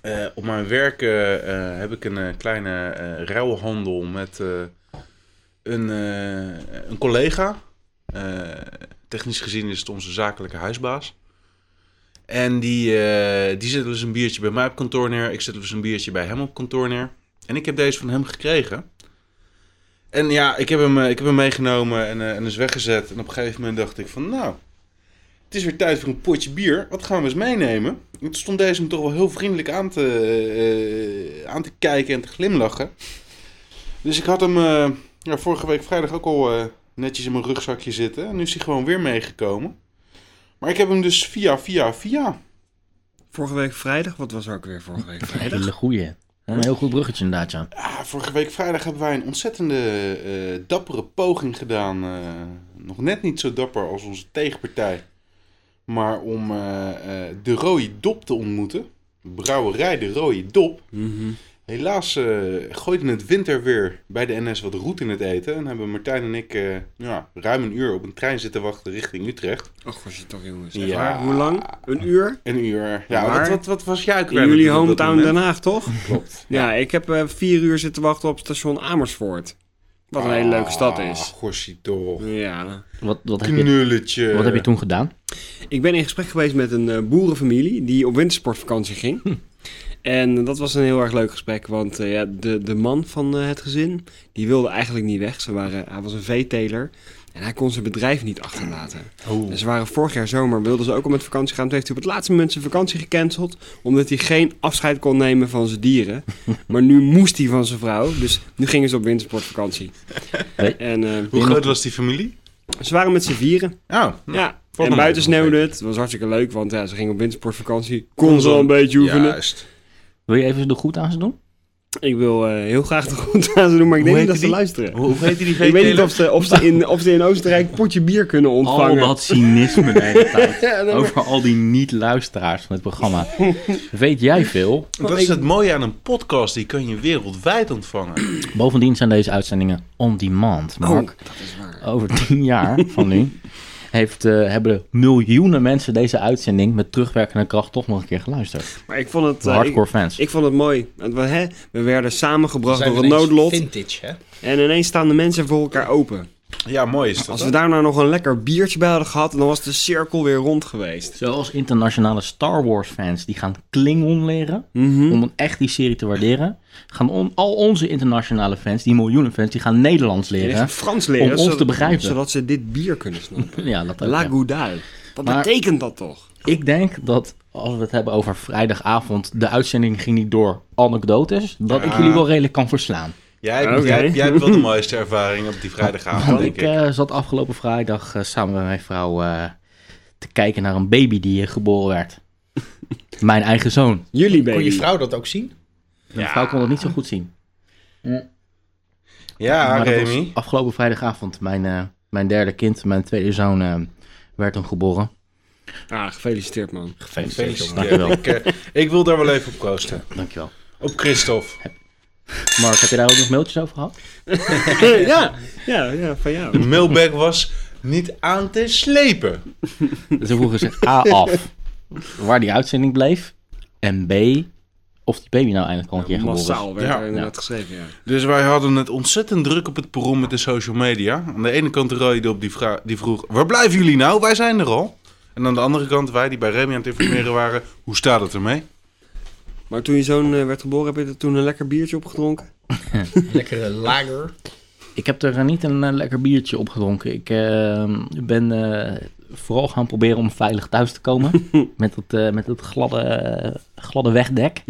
Speaker 5: Eh, op mijn werk eh, eh, heb ik een eh, kleine eh ruilhandel met eh, een, eh, een collega. Eh, technisch gezien is het onze zakelijke huisbaas. En die, eh, die zet wel eens een biertje bij mij op kantoor neer. Ik zet wel eens een biertje bij hem op kantoor neer. En ik heb deze van hem gekregen. En ja, ik heb hem, eh, ik heb hem meegenomen en, eh, en is weggezet. En op een gegeven moment dacht ik van, nou, het is weer tijd voor een potje bier. Wat gaan we eens meenemen? En Toen stond deze me toch wel heel vriendelijk aan te, eh, aan te kijken en te glimlachen. Dus ik had hem eh, ja, vorige week vrijdag ook al eh, netjes in mijn rugzakje zitten. En nu is hij gewoon weer meegekomen. Maar ik heb hem dus via, via, via.
Speaker 2: Vorige week vrijdag, wat was er ook weer vorige week vrijdag?
Speaker 1: Hele goeie. Een heel goed bruggetje inderdaad, ja.
Speaker 5: Ah, vorige week vrijdag hebben wij een ontzettende eh, dappere poging gedaan. eh, nog net niet zo dapper als onze tegenpartij. Maar om eh, eh, de Rode Dop te ontmoeten. Brouwerij de Rode Dop.
Speaker 2: Mhm.
Speaker 5: Helaas eh gooide het winterweer bij de NS wat roet in het eten. En hebben Martijn en ik eh, ja, ruim een uur op een trein zitten wachten richting Utrecht.
Speaker 2: Och, was je toch Oh, jongens.
Speaker 5: Ja.
Speaker 2: Echt waar? Hoe lang? Een uur?
Speaker 5: Een uur. Ja,
Speaker 2: Maar-
Speaker 5: wat, Oh, wat, wat was jij ook
Speaker 2: In jullie
Speaker 5: natuurlijk op dat
Speaker 2: hometown
Speaker 5: moment?
Speaker 2: Den Haag, toch?
Speaker 5: Klopt.
Speaker 2: Ja, ik heb eh, vier uur zitten wachten op station Amersfoort. Wat een hele leuke stad
Speaker 5: Ah,
Speaker 2: is.
Speaker 5: Gorsie toch.
Speaker 2: Ja.
Speaker 1: Wat, wat, heb je,
Speaker 5: Knulletje.
Speaker 1: wat heb je toen gedaan?
Speaker 2: Ik ben in gesprek geweest met een eh, boerenfamilie die op wintersportvakantie ging. En dat was een heel erg leuk gesprek, want eh, ja, de, de man van eh, het gezin, die wilde eigenlijk niet weg. Ze waren, hij was een veeteler en hij kon zijn bedrijf niet achterlaten. En ze waren vorig jaar zomer, wilden ze ook al met vakantie gaan. Toen heeft hij op het laatste moment zijn vakantie gecanceld, omdat hij geen afscheid kon nemen van zijn dieren. maar nu moest hij van zijn vrouw, dus nu gingen ze op wintersportvakantie.
Speaker 1: Hey.
Speaker 2: En eh,
Speaker 5: Hoe groot was die familie?
Speaker 2: ze waren met z'n vieren.
Speaker 5: Oh,
Speaker 2: Ja,
Speaker 5: Valt
Speaker 2: en
Speaker 5: nog
Speaker 2: buiten
Speaker 5: even nog
Speaker 2: sneeuwde het. Het was hartstikke leuk, want ja, ze gingen op wintersportvakantie. Kon ze al een beetje oefenen.
Speaker 5: Juist.
Speaker 1: Wil je even de goed aan ze doen?
Speaker 2: Ik wil eh, heel graag de goed aan ze doen, maar ik
Speaker 5: Hoe
Speaker 2: denk
Speaker 5: heet
Speaker 2: niet dat ze
Speaker 5: die?
Speaker 2: luisteren.
Speaker 5: Hoe, hoe heet die
Speaker 2: Ik weet niet
Speaker 5: veeteler?
Speaker 2: of ze, of, ze in, of ze in Oostenrijk een potje bier kunnen ontvangen.
Speaker 1: Al dat cynisme de hele tijd.
Speaker 2: Ja, nee, maar-
Speaker 1: Over al die niet-luisteraars van het programma. Weet jij veel?
Speaker 5: Dat is het mooie aan een podcast, die kan je wereldwijd ontvangen.
Speaker 1: Bovendien zijn deze uitzendingen on demand.
Speaker 2: Oh,
Speaker 1: Mark,
Speaker 2: dat is waar.
Speaker 1: over tien jaar van nu heeft, eh, hebben miljoenen mensen deze uitzending met terugwerkende kracht toch nog een keer geluisterd.
Speaker 2: Maar ik vond het,
Speaker 1: De
Speaker 2: eh,
Speaker 1: hardcore
Speaker 2: ik,
Speaker 1: fans.
Speaker 2: ik vond het mooi. Want we, hè, we werden samengebracht
Speaker 3: Zijn
Speaker 2: door
Speaker 3: we
Speaker 2: het
Speaker 3: ineens
Speaker 2: noodlot.
Speaker 3: Vintage, hè?
Speaker 2: En ineens staan de mensen voor elkaar open.
Speaker 5: Ja, mooi is dat.
Speaker 2: Als
Speaker 5: hè?
Speaker 2: we daar nou nog een lekker biertje bij hadden gehad, dan was de cirkel weer rond geweest.
Speaker 1: Zoals internationale Star Wars fans die gaan Klingon leren om dan echt die serie te waarderen. Gaan on- al onze internationale fans, die miljoenen fans, die gaan Nederlands
Speaker 2: En ik ga
Speaker 1: leren.
Speaker 2: Frans leren,
Speaker 1: Om ons
Speaker 2: zodat-
Speaker 1: te begrijpen.
Speaker 2: zodat ze dit bier kunnen snappen.
Speaker 1: Ja, dat ook,
Speaker 2: La
Speaker 1: ja.
Speaker 2: Goudal. Wat
Speaker 1: Maar-
Speaker 2: betekent dat toch?
Speaker 1: Ik denk dat als we het hebben over vrijdagavond, de uitzending ging niet door anekdotes, dat ik jullie wel redelijk kan verslaan.
Speaker 5: Jij, hebt-
Speaker 2: Oké.
Speaker 5: jij, hebt- jij hebt wel de mooiste ervaring op die vrijdagavond,
Speaker 1: Want
Speaker 5: denk
Speaker 1: ik
Speaker 5: ik.
Speaker 1: eh, zat afgelopen vrijdag eh, samen met mijn vrouw eh, te kijken naar een baby die eh, geboren werd. mijn eigen zoon.
Speaker 2: Jullie
Speaker 3: Kon
Speaker 2: baby.
Speaker 3: je vrouw dat ook zien?
Speaker 1: Mijn vrouw kon dat niet zo goed zien.
Speaker 5: Ja,
Speaker 1: Maar dat was
Speaker 5: Remy.
Speaker 1: afgelopen vrijdagavond, mijn, eh, mijn derde kind, mijn tweede zoon, eh, werd hem geboren.
Speaker 2: Ah, gefeliciteerd man.
Speaker 1: Gefeliciteerd.
Speaker 5: Gefeliciteerd.
Speaker 1: Dankjewel.
Speaker 5: Ik, eh, ik wil daar wel even op proosten.
Speaker 1: Dankjewel.
Speaker 5: Op Christophe.
Speaker 1: Mark, heb je daar ook nog mailtjes over gehad?
Speaker 2: ja, ja, ja, van jou.
Speaker 5: De mailbag was niet aan te slepen.
Speaker 1: Ze vroegen zich A af waar die uitzending bleef. En B, of die baby nou eindelijk al een keer geboren
Speaker 2: Massaal werd
Speaker 5: Ja.
Speaker 2: er inderdaad geschreven, ja.
Speaker 5: Dus wij hadden het ontzettend druk op het perron met de social media. Aan de ene kant Roy op die, vra- die vroeg, waar blijven jullie nou? Wij zijn er al. En aan de andere kant wij die bij Remy aan het informeren waren, hoe staat het ermee?
Speaker 2: Maar toen je zoon eh, werd geboren, heb je er toen een lekker biertje opgedronken?
Speaker 3: Lekkere lager.
Speaker 1: is. Ik heb er eh, niet een eh, lekker biertje op gedronken. Ik eh, ben eh, vooral gaan proberen om veilig thuis te komen. met dat, eh, met dat gladde, eh, gladde wegdek.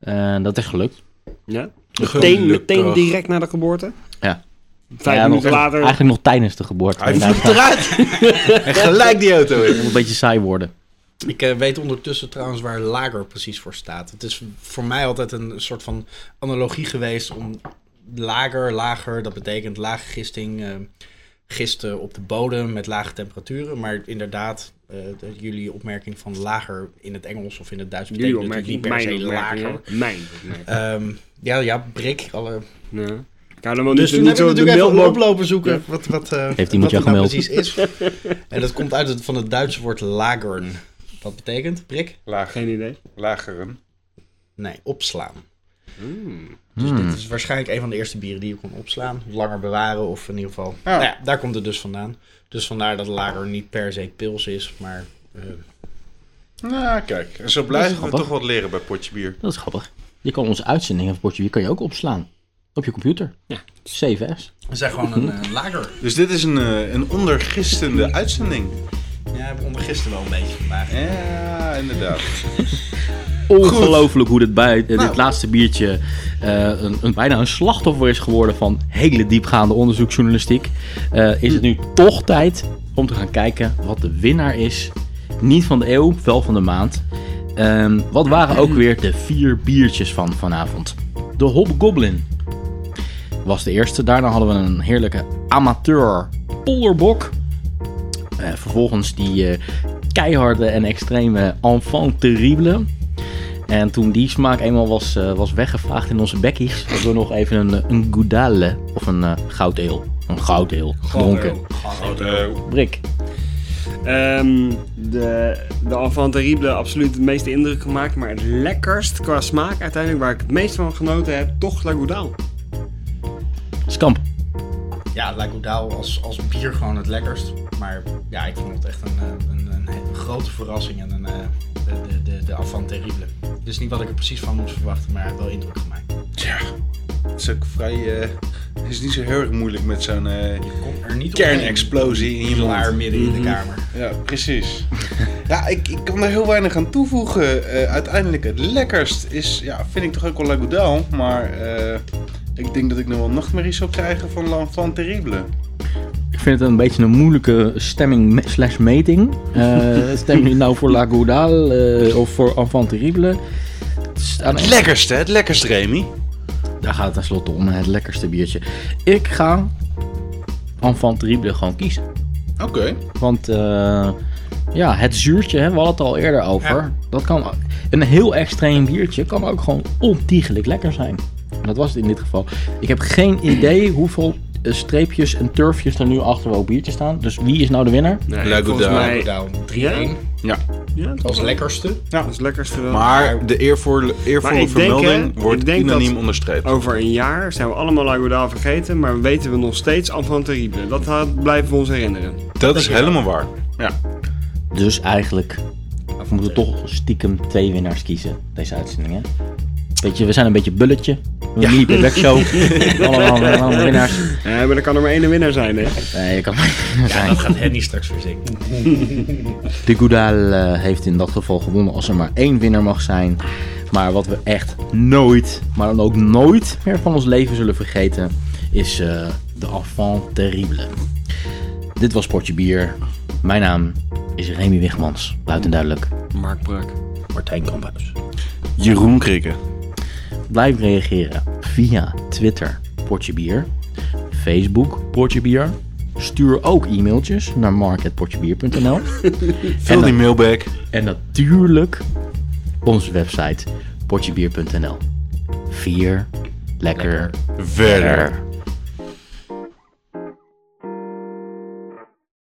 Speaker 1: Eh, dat is gelukt.
Speaker 2: Mhm. Ja. Meteen, meteen direct na de geboorte?
Speaker 1: Ja.
Speaker 2: Vijf
Speaker 1: Ja,
Speaker 2: minuten
Speaker 1: nog-
Speaker 2: later.
Speaker 1: Eigenlijk nog tijdens de geboorte.
Speaker 5: Hij
Speaker 1: Inderdaad,
Speaker 5: vliegt eruit. en gelijk die auto in.
Speaker 1: het moet een beetje saai worden.
Speaker 3: Ik eh, weet ondertussen trouwens waar lager precies voor staat. Het is voor mij altijd een soort van analogie geweest om lager, lager, dat betekent lage gisting, eh, gisten op de bodem met lage temperaturen. Maar inderdaad, eh, de- jullie opmerking van lager in het Engels of in het Duits
Speaker 2: Jullie
Speaker 3: betekent natuurlijk
Speaker 2: opmerking,
Speaker 3: niet per
Speaker 2: mijn
Speaker 3: se
Speaker 2: opmerking,
Speaker 3: lager.
Speaker 2: hè? Mijn opmerking.
Speaker 3: Ehm, ja, ja, brik. Alle...
Speaker 2: Ja. Ik hou dan wel
Speaker 3: Dus
Speaker 2: niet,
Speaker 3: toen
Speaker 2: niet
Speaker 3: heb
Speaker 2: zo
Speaker 3: ik
Speaker 2: de
Speaker 3: natuurlijk even
Speaker 2: mailbox.
Speaker 3: oplopen zoeken wat, wat, eh,
Speaker 1: Heeft
Speaker 3: wat
Speaker 1: iemand jou
Speaker 3: het nou
Speaker 1: gemaild?
Speaker 3: precies is. en dat komt uit het, van het Duitse woord lagern. Wat betekent brik?
Speaker 5: Laag,
Speaker 2: Geen idee.
Speaker 5: lageren.
Speaker 3: Nee, opslaan. Dus
Speaker 1: Hmm.
Speaker 3: dit is waarschijnlijk een van de eerste bieren die je kon opslaan. Langer bewaren of in ieder geval...
Speaker 5: Ja.
Speaker 3: Nou ja, daar komt het dus vandaan. Dus vandaar dat lager niet per se pils is, maar... eh,
Speaker 5: Nou, kijk. En zo
Speaker 1: Dat
Speaker 5: blijven
Speaker 1: is
Speaker 5: we
Speaker 1: grappig.
Speaker 5: toch wat leren bij Potje Bier.
Speaker 1: Dat is grappig. Je kan onze uitzendingen van Portje Bier kan je ook opslaan. Op je computer. Ja. 7S.
Speaker 3: we zijn gewoon een eh, lager.
Speaker 5: Dus dit is een, eh, een ondergistende uitzending.
Speaker 3: Ja, we ondergisten wel een beetje vandaag.
Speaker 5: Ja, inderdaad.
Speaker 1: Ongelooflijk hoe dit, bij, eh, dit
Speaker 5: Nou.
Speaker 1: laatste biertje eh, een, een, bijna een slachtoffer is geworden van hele diepgaande onderzoeksjournalistiek. Eh, is het nu toch tijd om te gaan kijken wat de winnaar is. Niet van de eeuw, wel van de maand. Ehm, wat waren ook weer de vier biertjes van vanavond? De Hobgoblin was de eerste. Daarna hadden we een heerlijke amateur polderbok. Eh, vervolgens die eh, keiharde en extreme enfant terrible. En toen die smaak eenmaal was, eh, was weggevaagd in onze bekkies, hebben we nog even een, eh, een goudale of een eh goudeel. Een goudeel gedronken.
Speaker 5: Eh,
Speaker 1: Brik.
Speaker 2: Ehm, de, de Enfant Terrible absoluut het meeste indruk gemaakt. Maar het lekkerst qua smaak uiteindelijk, waar ik het meest van genoten heb, toch La Goudal.
Speaker 1: Skamp.
Speaker 3: Ja, Lagodaal als, als bier gewoon het lekkerst. Maar ja, ik vond het echt een, eh, een, een, he- grote verrassing en een, eh, de, de, de, de avant terrible. Dus niet wat ik er precies van moest verwachten, maar hij heeft wel indruk gemaakt.
Speaker 5: Tja, het is ook vrij. eh, het is niet zo heel erg moeilijk met zo'n eh,
Speaker 3: Kom er niet op
Speaker 5: kernexplosie in je mond.
Speaker 3: Klaar midden in de kamer.
Speaker 5: Ja, precies. ja, ik, ik kan er heel weinig aan toevoegen. Eh, uiteindelijk het lekkerst is, ja, vind ik toch ook wel Lagoudal. Maar eh, ik denk dat ik nog wel nachtmerries zou krijgen van L'Enfant Terrible.
Speaker 1: Ik vind het een beetje een moeilijke stemming me- slash meting. Eh, stem je nou voor La Goudal eh, of voor Enfant Terrible? Het is aan-
Speaker 5: Het lekkerste, het lekkerst, Remy.
Speaker 1: Daar gaat het tenslotte om, het lekkerste biertje. Ik ga Enfant Terrible gewoon kiezen.
Speaker 5: Oké.
Speaker 1: Want eh, ja, het zuurtje, hè, we hadden het al eerder over. Dat kan, een heel extreem biertje kan ook gewoon ontiegelijk lekker zijn. En dat was het in dit geval. Ik heb geen idee hoeveel eh, streepjes en turfjes er nu achter welk biertje staan. Dus wie is nou de winnaar?
Speaker 2: Nee,
Speaker 5: La
Speaker 3: Dus
Speaker 2: volgens
Speaker 5: Goudal.
Speaker 2: mij-
Speaker 3: Lagodaal 3-1
Speaker 5: Ja.
Speaker 2: Ja,
Speaker 3: als lekkerste.
Speaker 2: dat is het lekkerste wel.
Speaker 5: Maar de eervolle,
Speaker 2: Maar
Speaker 5: eervolle
Speaker 2: ik denk,
Speaker 5: vermelding
Speaker 2: hè, ik
Speaker 5: wordt
Speaker 2: denk
Speaker 5: unaniem
Speaker 2: dat- Oh,
Speaker 5: onderstreept.
Speaker 2: Over een jaar zijn we allemaal La Goudal vergeten, maar weten we nog steeds Enfant Terrible. Dat had- blijven we ons herinneren.
Speaker 5: dat is helemaal waar. Ja.
Speaker 1: Dus eigenlijk we moeten toch stiekem twee winnaars kiezen. Deze uitzending, hè? Weet je, we zijn een beetje bulletje. Een mini playback show. allemaal, allemaal winnaars.
Speaker 2: Ja, maar er kan er maar één winnaar zijn, hè?
Speaker 1: Nee, je kan maar zijn.
Speaker 3: Dat gaat Henny straks weer zingen.
Speaker 1: De Goudal eh, heeft in dat geval gewonnen als er maar één winnaar mag zijn. Maar wat we echt nooit, maar dan ook nooit meer van ons leven zullen vergeten, is eh, de enfant terrible. Dit was Portje Bier. Mijn naam is Remy Wigmans, luid en duidelijk.
Speaker 2: Mark Brak.
Speaker 1: Martijn Kamphuis.
Speaker 5: Jeroen Krikke.
Speaker 1: Blijf reageren via Twitter, Portje Bier. Facebook Portje Bier. Stuur ook e-mailtjes naar mark.portjebier.nl.
Speaker 5: Vul die mailbag.
Speaker 1: En natuurlijk onze website portjebier.nl. Vier lekker,
Speaker 5: Verder.
Speaker 1: verder.